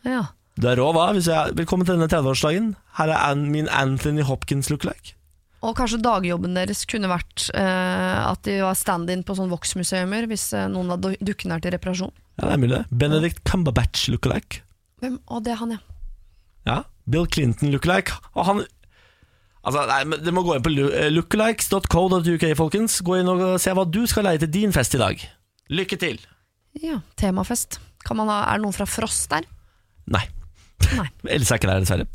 Ja. Du er rå, hva? Hvis jeg, velkommen til denne 30-årsdagen. Her er an, min Anthony Hopkins lookalike. Og kanskje dagjobben deres kunne vært eh, at de var stand-in på sånn Vox-museumer, hvis eh, noen av do- dukkene er til reparasjon. Ja, det er mulig. det. Benedict Cumberbatch lookalike. Hvem? Å, det er han, ja. Ja, Bill Clinton lookalike Og han Altså, nei, men dere må gå inn på lu- eh, lookalikes.co.uk, folkens. Gå inn og se hva du skal leie til din fest i dag. Lykke til! Ja, Temafest. Kan man ha, er det noen fra Frost der? Nei. Nei. Else er ikke der, dessverre.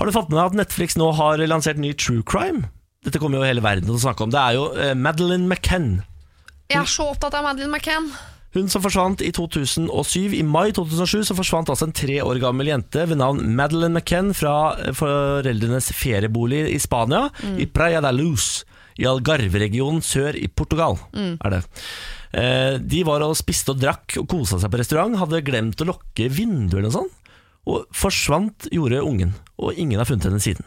Har du fått med deg at Netflix nå har lansert ny true crime? Dette kommer jo hele verden til å snakke om. Det er jo eh, Madeleine McCann. Jeg er så opptatt av Madeleine McCann. Hun som forsvant i 2007. I mai 2007 så forsvant altså en tre år gammel jente ved navn Madeleine McCann fra eh, foreldrenes feriebolig i Spania, i Praia da Luz, i Algarve-regionen sør i Portugal. er det. Eh, De var og spiste og drakk og kosa seg på restaurant, hadde glemt å sånn, lukke vinduer eller noe sånt, og forsvant gjorde ungen, og ingen har funnet henne siden.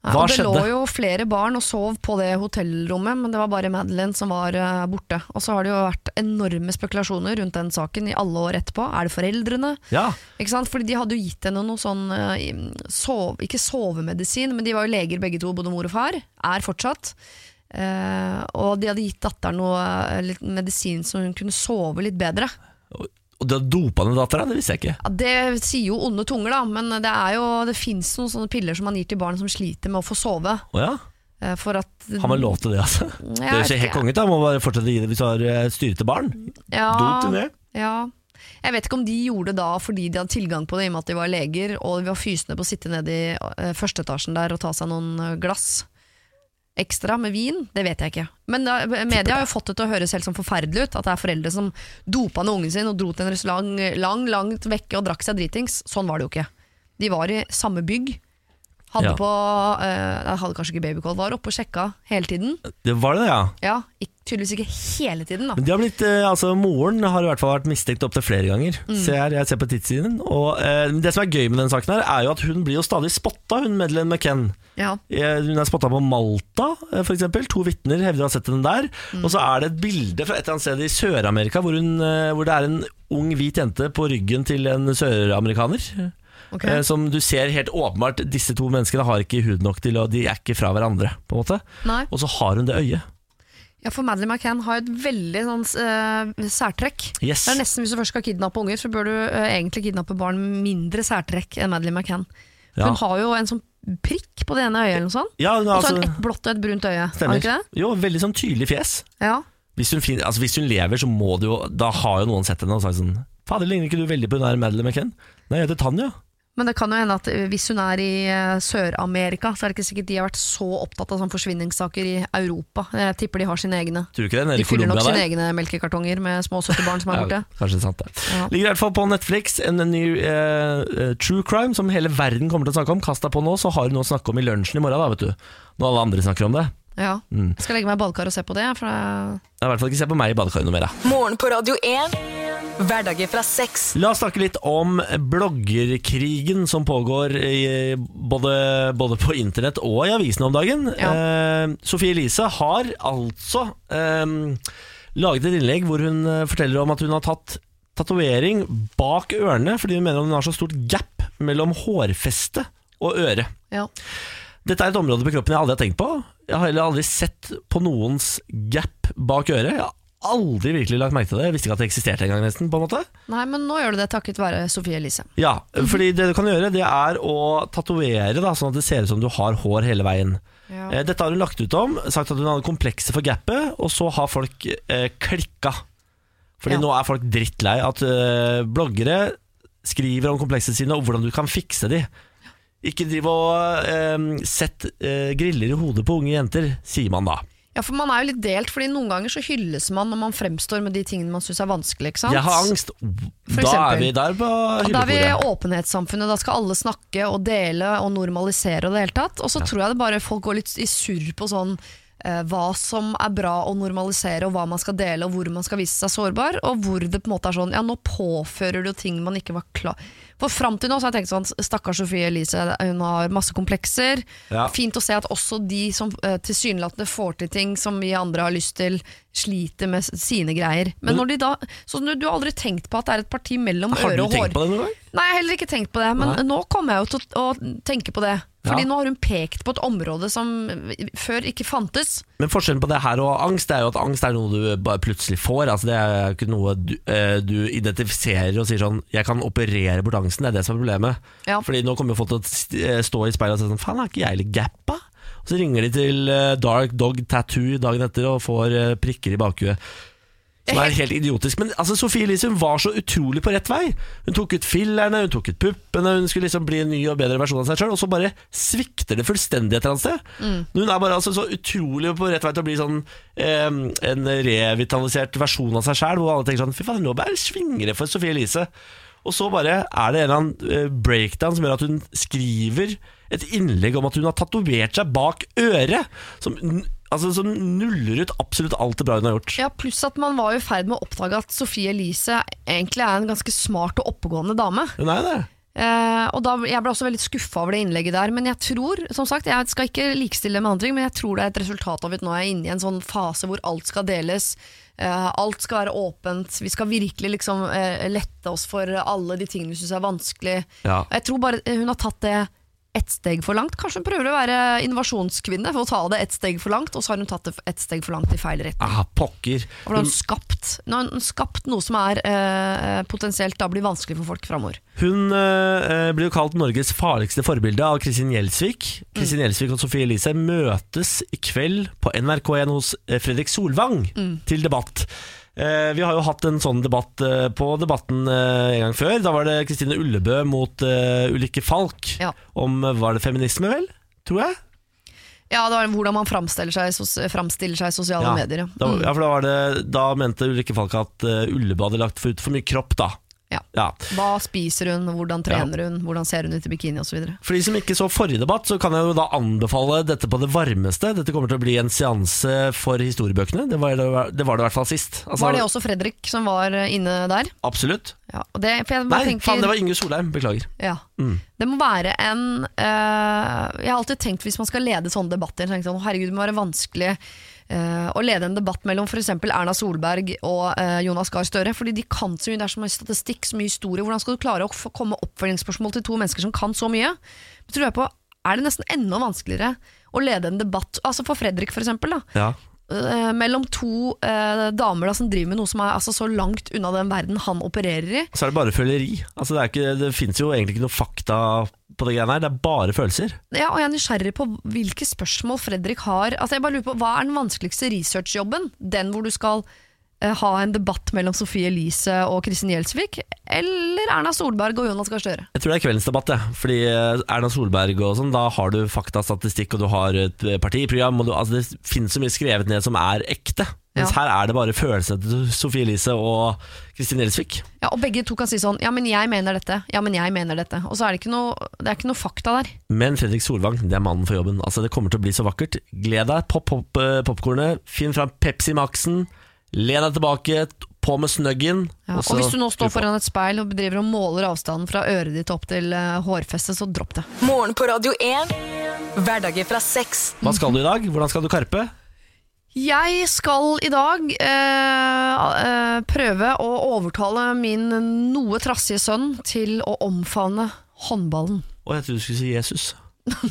Ja, Hva og det skjedde? lå jo flere barn og sov på det hotellrommet, men det var bare Madeleine som var eh, borte. Og så har det jo vært enorme spekulasjoner rundt den saken i alle år etterpå. Er det foreldrene? Ja, Ikke sant? Fordi de hadde jo gitt henne noe sånn eh, i- sov, Ikke sovemedisin, men de var jo leger begge to, både mor og far. Er fortsatt. Eh, og de hadde gitt datteren noe eh, litt medisin så hun kunne sove litt bedre. Og du har dopa ned dattera? Det visste jeg ikke. Ja, det sier jo onde tunger, da, men det, er jo, det fins noen sånne piller som man gir til barn som sliter med å få sove. Å ja? eh, For at Har man lov til det, altså? Det Mm, Jeg er jo vet ikke helt ikke. konge, da. Må bare fortsette å gi det hvis du har eh, styrete barn. Ja, Dop til det. Ja. Jeg vet ikke om de gjorde det da fordi de hadde tilgang på det i og med at de var leger, og de var fysende på å sitte nede i eh, første etasjen der og ta seg noen eh, glass ekstra med vin. Det vet jeg ikke. Men da, media har jo fått det til å høres helt sånn forferdelig ut. At det er foreldre som dopa ned ungen sin og dro til en restaurant lang, langt vekke og drakk seg dritings. Sånn var det jo ikke. De var i samme bygg. Hadde Ja. på eh, jeg Hadde kanskje ikke babycall, var oppe og sjekka hele tiden. Det var det, ja. Ja, ikk- tydeligvis ikke hele tiden, da. Men de har blitt, eh, altså Moren har i hvert fall vært mistenkt opptil flere ganger. Mm. Se her, jeg ser på tidssiden. Og eh, Det som er gøy med den saken, her er jo at hun blir jo stadig spotta, hun Madeleine McKenn. Ja. Eh, Hun er spotta på Malta, eh, for eksempel. To vitner hevder å ha sett henne der. Mm. Og så er det et bilde fra et eller annet sted i Sør-Amerika hvor, hun, eh, hvor det er en ung hvit jente på ryggen til en søramerikaner. ok. Eh, Som du ser helt åpenbart Disse to menneskene har ikke hud nok til å De er ikke fra hverandre, på en måte. Nei. Og så har hun det øyet. Ja, for Madeleine McCann har et veldig sånn, eh, særtrekk. Yes. Det er nesten Hvis du først skal kidnappe unger, så bør du eh, egentlig kidnappe barn med mindre særtrekk enn Madeleine McCann. For Ja. Hun har jo en sånn prikk på det ene øyet, eller noe sånt. Ja, hun har Og så har hun altså- et blått og et brunt øye. Har hun Stemmer. ikke det? Jo, veldig sånn tydelig fjes. Ja. Hvis hun, fin- altså, hvis hun lever, så må det jo Da har jo noen sett henne og sagt sånn Fader, ligner ikke du veldig på hun her Madeleine McKenn? Nei, jeg heter Tanja. Men det kan jo hende at eh, hvis hun er i eh, Sør-Amerika, så er det ikke sikkert de har vært så opptatt av sånne forsvinningssaker i Europa. Jeg tipper de har sine egne. Tror du ikke det? Nede De i fyller nok Colombia sine der. egne melkekartonger med små søte barn som er borte. Ja, kanskje det er sant, det. Ja. Ligger i hvert fall på Netflix en ny eh, eh, true crime som hele verden kommer til å snakke om. Kast deg på nå, så har du noe å snakke om i lunsjen i morgen, da, vet du. Når alle andre snakker om det. Ja. Mm. Jeg skal legge meg i badekar og se på det. For eh, det Jeg har I hvert fall ikke se på meg i badekaret noe mer, da. Morgen på Radio 1. Hverdager fra seks. La oss snakke litt om bloggerkrigen som pågår i, både, både på internett og i avisene om dagen. Ja. Eh, Sofie Elise har altså eh, laget et innlegg hvor hun eh, forteller om at hun har tatt tatovering bak ørene fordi hun mener hun har så stort gap mellom hårfeste og øre. Ja. Dette er et område på kroppen jeg aldri har tenkt på. Jeg har heller aldri sett på noens gap bak øret. Jeg har aldri virkelig lagt merke til det. Jeg visste ikke at det eksisterte engang, nesten. på en måte. Nei, men nå gjør du det takket være Sofie Elise. Ja, Mhm. fordi det du kan gjøre det er å tatovere da, sånn at det ser ut som du har hår hele veien. Eh, Dette har hun lagt ut om, sagt at hun hadde komplekser for gapet, og så har folk eh, klikka. Fordi Ja. nå er folk drittlei at eh, bloggere skriver om kompleksene sine og hvordan du kan fikse de. Ikke driv og eh, sett eh, griller i hodet på unge jenter, sier man da. Ja, for man er jo litt delt, fordi noen ganger så hylles man når man fremstår med de tingene man syns er vanskelig, ikke sant? Jeg har angst. For Da er eksempel. vi der på Og Da er vi i hyllekoret. åpenhetssamfunnet, da skal alle snakke og dele og normalisere og det hele tatt. Og så tror jeg det bare folk går litt i surr på sånn eh, hva som er bra å normalisere, og hva man skal dele, og hvor man skal vise seg sårbar, og hvor det på en måte er sånn ja, nå påfører du ting man ikke var klar For fram til nå så har jeg tenkt sånn, stakkars Sofie Elise, hun har masse komplekser. Ja. Fint å se at også de som eh, tilsynelatende får til ting som vi andre har lyst til, sliter med s- sine greier. Men når de da Så du du har aldri tenkt på at det er et parti mellom Har øre du og hår? tenkt på det noen gang? Nei, jeg har heller ikke tenkt på det, men Nei. nå kommer jeg jo til å å tenke på det. Fordi Ja. nå har hun pekt på et område som før ikke fantes. Men forskjellen på det her og angst er jo at angst er noe du bare plutselig får. Altså det er ikke noe du, eh, du identifiserer og sier sånn 'jeg kan operere bort angsten', det er det som er problemet. Ja. Fordi nå kommer jo folk til å st- eh, stå i speilet og si sånn 'faen, er ikke jeg litt gappa?' Og så ringer de til eh, Dark Dog Tattoo dagen etter og får eh, prikker i bakhuet. Som er helt idiotisk. Men altså, Sofie Elise hun var så utrolig på rett vei. Hun tok ut fillerne, hun tok ut puppene, hun skulle liksom bli en ny og bedre versjon av seg sjøl, og så bare svikter det fullstendig et eller annet sted. Hun er bare altså så utrolig på rett vei til å bli sånn eh, en revitalisert versjon av seg sjæl, hvor alle tenker sånn fy faen, nå bare svinger det for Sofie Elise. Og så bare er det en eller annen eh, breakdown som gjør at hun skriver et innlegg om at hun har tatovert seg bak øret, som, n- altså, som nuller ut absolutt alt det bra hun har gjort. Ja, Pluss at man var jo i ferd med å oppdage at Sophie Elise egentlig er en ganske smart og oppegående dame. Hun er jo det. Eh, og da, Jeg ble også veldig skuffa over det innlegget der, men jeg tror, som sagt, jeg skal ikke likestille det med andre ting, men jeg tror det er et resultat av at nå er jeg inne i en sånn fase hvor alt skal deles. eh, alt skal være åpent. Vi skal virkelig liksom eh, lette oss for alle de tingene vi syns er vanskelig. Ja. Og jeg tror bare eh, hun har tatt det ett steg for langt. Kanskje hun prøver å være innovasjonskvinne for å ta det ett steg for langt, og så har hun tatt det ett steg for langt i feil retning. Ah, pokker. Og da har hun skapt, nå har hun skapt noe som er eh, potensielt da blir vanskelig for folk framover. Hun eh, blir jo kalt Norges farligste forbilde av Kristin Gjelsvik. Mm. Kristin Gjelsvik og Sofie Elise møtes i kveld på NRK1 hos eh, Fredrik Solvang Mm. til debatt. Eh, vi har jo hatt en sånn debatt eh, på Debatten eh, en gang før. Da var det Kristine Ullebø mot eh, Ulrikke Falk Ja. om eh, Var det feminisme, vel? Tror jeg. Ja, det var hvordan man framstiller seg, sos, framstiller seg i sosiale medier. Da, Mm. ja, for da, var det, da mente Ulrikke Falk at eh, Ullebø hadde lagt ut for mye kropp, da. Ja. ja. Hva spiser hun, hvordan trener hun, hvordan ser hun ut i bikini osv. For de som ikke så forrige debatt, så kan jeg jo da anbefale dette på det varmeste. Dette kommer til å bli en seanse for historiebøkene. Det var det, det, var det i hvert fall sist. Altså, Var det også Fredrik som var eh, inne der? Absolutt. Ja, og det, for jeg Nei, bare tenker, faen, det var Inge Solheim. Beklager. ja. Det må være en eh, Jeg har alltid tenkt hvis man skal lede sånne debatter, så tenker jeg sånn, herregud, det må være vanskelig eh, å lede en debatt mellom f.eks. Erna Solberg og eh, Jonas Gahr Støre. Fordi de kan så mye, det er så mye statistikk, så mye historie. Hvordan skal du klare å få- komme med oppfølgingsspørsmål til to mennesker som kan så mye? Det tror jeg på er det nesten enda vanskeligere å lede en debatt, altså for Fredrik f.eks. da Ja. eh, mellom to eh, damer da, som driver med noe som er altså, så langt unna den verden han opererer i. Så er det bare føleri. Altså, det er ikke, det fins jo egentlig ikke noe fakta på det greiene her. Det er bare følelser. Ja, og jeg er nysgjerrig på hvilke spørsmål Fredrik har. Altså, jeg bare lurer på, Hva er den vanskeligste researchjobben? Den hvor du skal eh, ha en debatt mellom Sofie Elise og Kristin Gjelsvik? Eller Erna Solberg og Jonas Gahr Støre? Jeg tror det er kveldens debatt, jeg. Fordi eh, Erna Solberg og sånn, da har du fakta, statistikk, og du har et eh, partiprogram. Og du, altså, det fins så mye skrevet ned som er ekte. Mens Ja. her er det bare følelsene til Sofie Elise og Kristin Gjelsvik. Ja, Og begge to kan si sånn Ja, men jeg mener dette. Ja, men jeg mener dette. Og så er det ikke noe, det er ikke noe fakta der. Men Fredrik Solvang, det er mannen for jobben. Altså, det kommer til å bli så vakkert. Gled deg, popp pop, eh, popcornet, finn fram Pepsi Max-en, len deg tilbake, t- på med snøggen. Ja, og, så hvis du nå skru står på. foran et speil og bedriver og måler avstanden fra øret ditt opp til eh, hårfestet, så dropp det. Morgen på Radio 1. Hverdager fra seks. Hva skal du i dag? Hvordan skal du karpe? Jeg skal i dag eh, eh, prøve å overtale min noe trassige sønn til å omfavne håndballen. Å, jeg trodde du skulle si Jesus.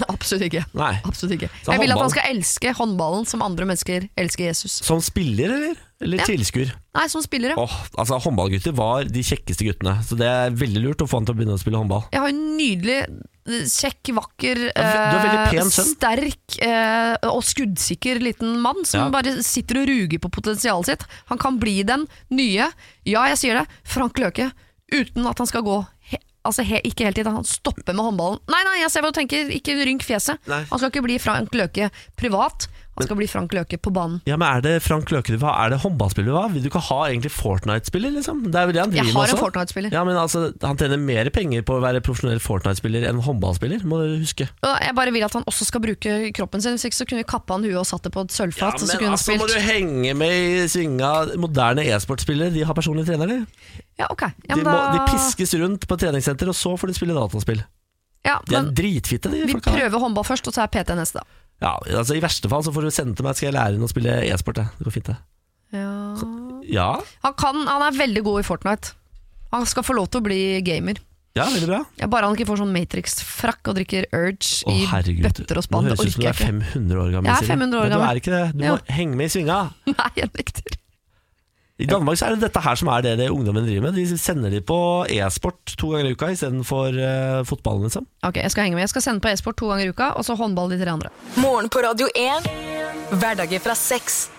Absolutt ikke. Nei. Absolutt ikke. Så Jeg vil at håndballen- han skal elske håndballen som andre mennesker elsker Jesus. Som spiller, eller? Eller Ja. tilskuer? Nei, som spillere. Åh, altså Håndballgutter var de kjekkeste guttene, så det er veldig lurt å få han til å begynne å spille håndball. Jeg har en nydelig, kjekk, vakker, er ve- du er veldig eh, pen sønn. sterk eh, og skuddsikker liten mann som Ja. bare sitter og ruger på potensialet sitt. Han kan bli den nye, ja jeg sier det, Frank Løke, uten at han skal gå he altså he ikke helt dit. Han stopper med håndballen. Nei, nei, jeg ser hva du tenker, ikke rynk fjeset. Nei. Han skal ikke bli Frank Løke privat, han skal bli Frank Løke på banen. Ja, men Er det Frank Løke du vil ha? Er det håndballspiller du vil ha? Vil du ikke ha egentlig Fortnite-spiller? liksom? Det er vel det han Jeg driver med har en også. Fortnite-spiller. Ja, men altså, Han tjener mer penger på å være profesjonell Fortnite-spiller enn håndballspiller, må du huske. Og Jeg bare vil at han også skal bruke kroppen sin, hvis ikke så kunne vi kappa han huet og satt det på et sølvfat. og så kunne han altså må spilt. du henge med i svinga. Moderne e-sportspillere de har personlige trenere. Ja, ok. De, Ja, men må, da- de piskes rundt på treningssenter, og så får de spille dataspill. Ja, De er men- dritfitte, de Vi folka. der. prøver håndball først, og så er PT neste, da. Ja, altså, I verste fall så får du sende til meg, skal jeg lære henne å spille e-sport. jeg. Det går fint, det. Ja, Han, kan, han er veldig god i Fortnite. Han skal få lov til å bli gamer. ja veldig bra. Ja, bare han ikke får sånn Matrix-frakk og drikker Urge Å, i herregud. bøtter og spann. Nå Det høres ut som du orker jeg er ikke. 500 år gammel. Jeg er Silje. 500 år Men gammel. Du er ikke det. Du Jo. må henge med i svinga. Nei, jeg nekter. I Danmark så er det dette her som er det, det ungdommen driver med. De sender de på e-sport to ganger i uka istedenfor uh, fotballen, liksom. Ok, Jeg skal henge med. Jeg skal sende på e-sport to ganger i uka, og så håndball de tre andre. Morgen på Radio 1. Hverdager fra seks.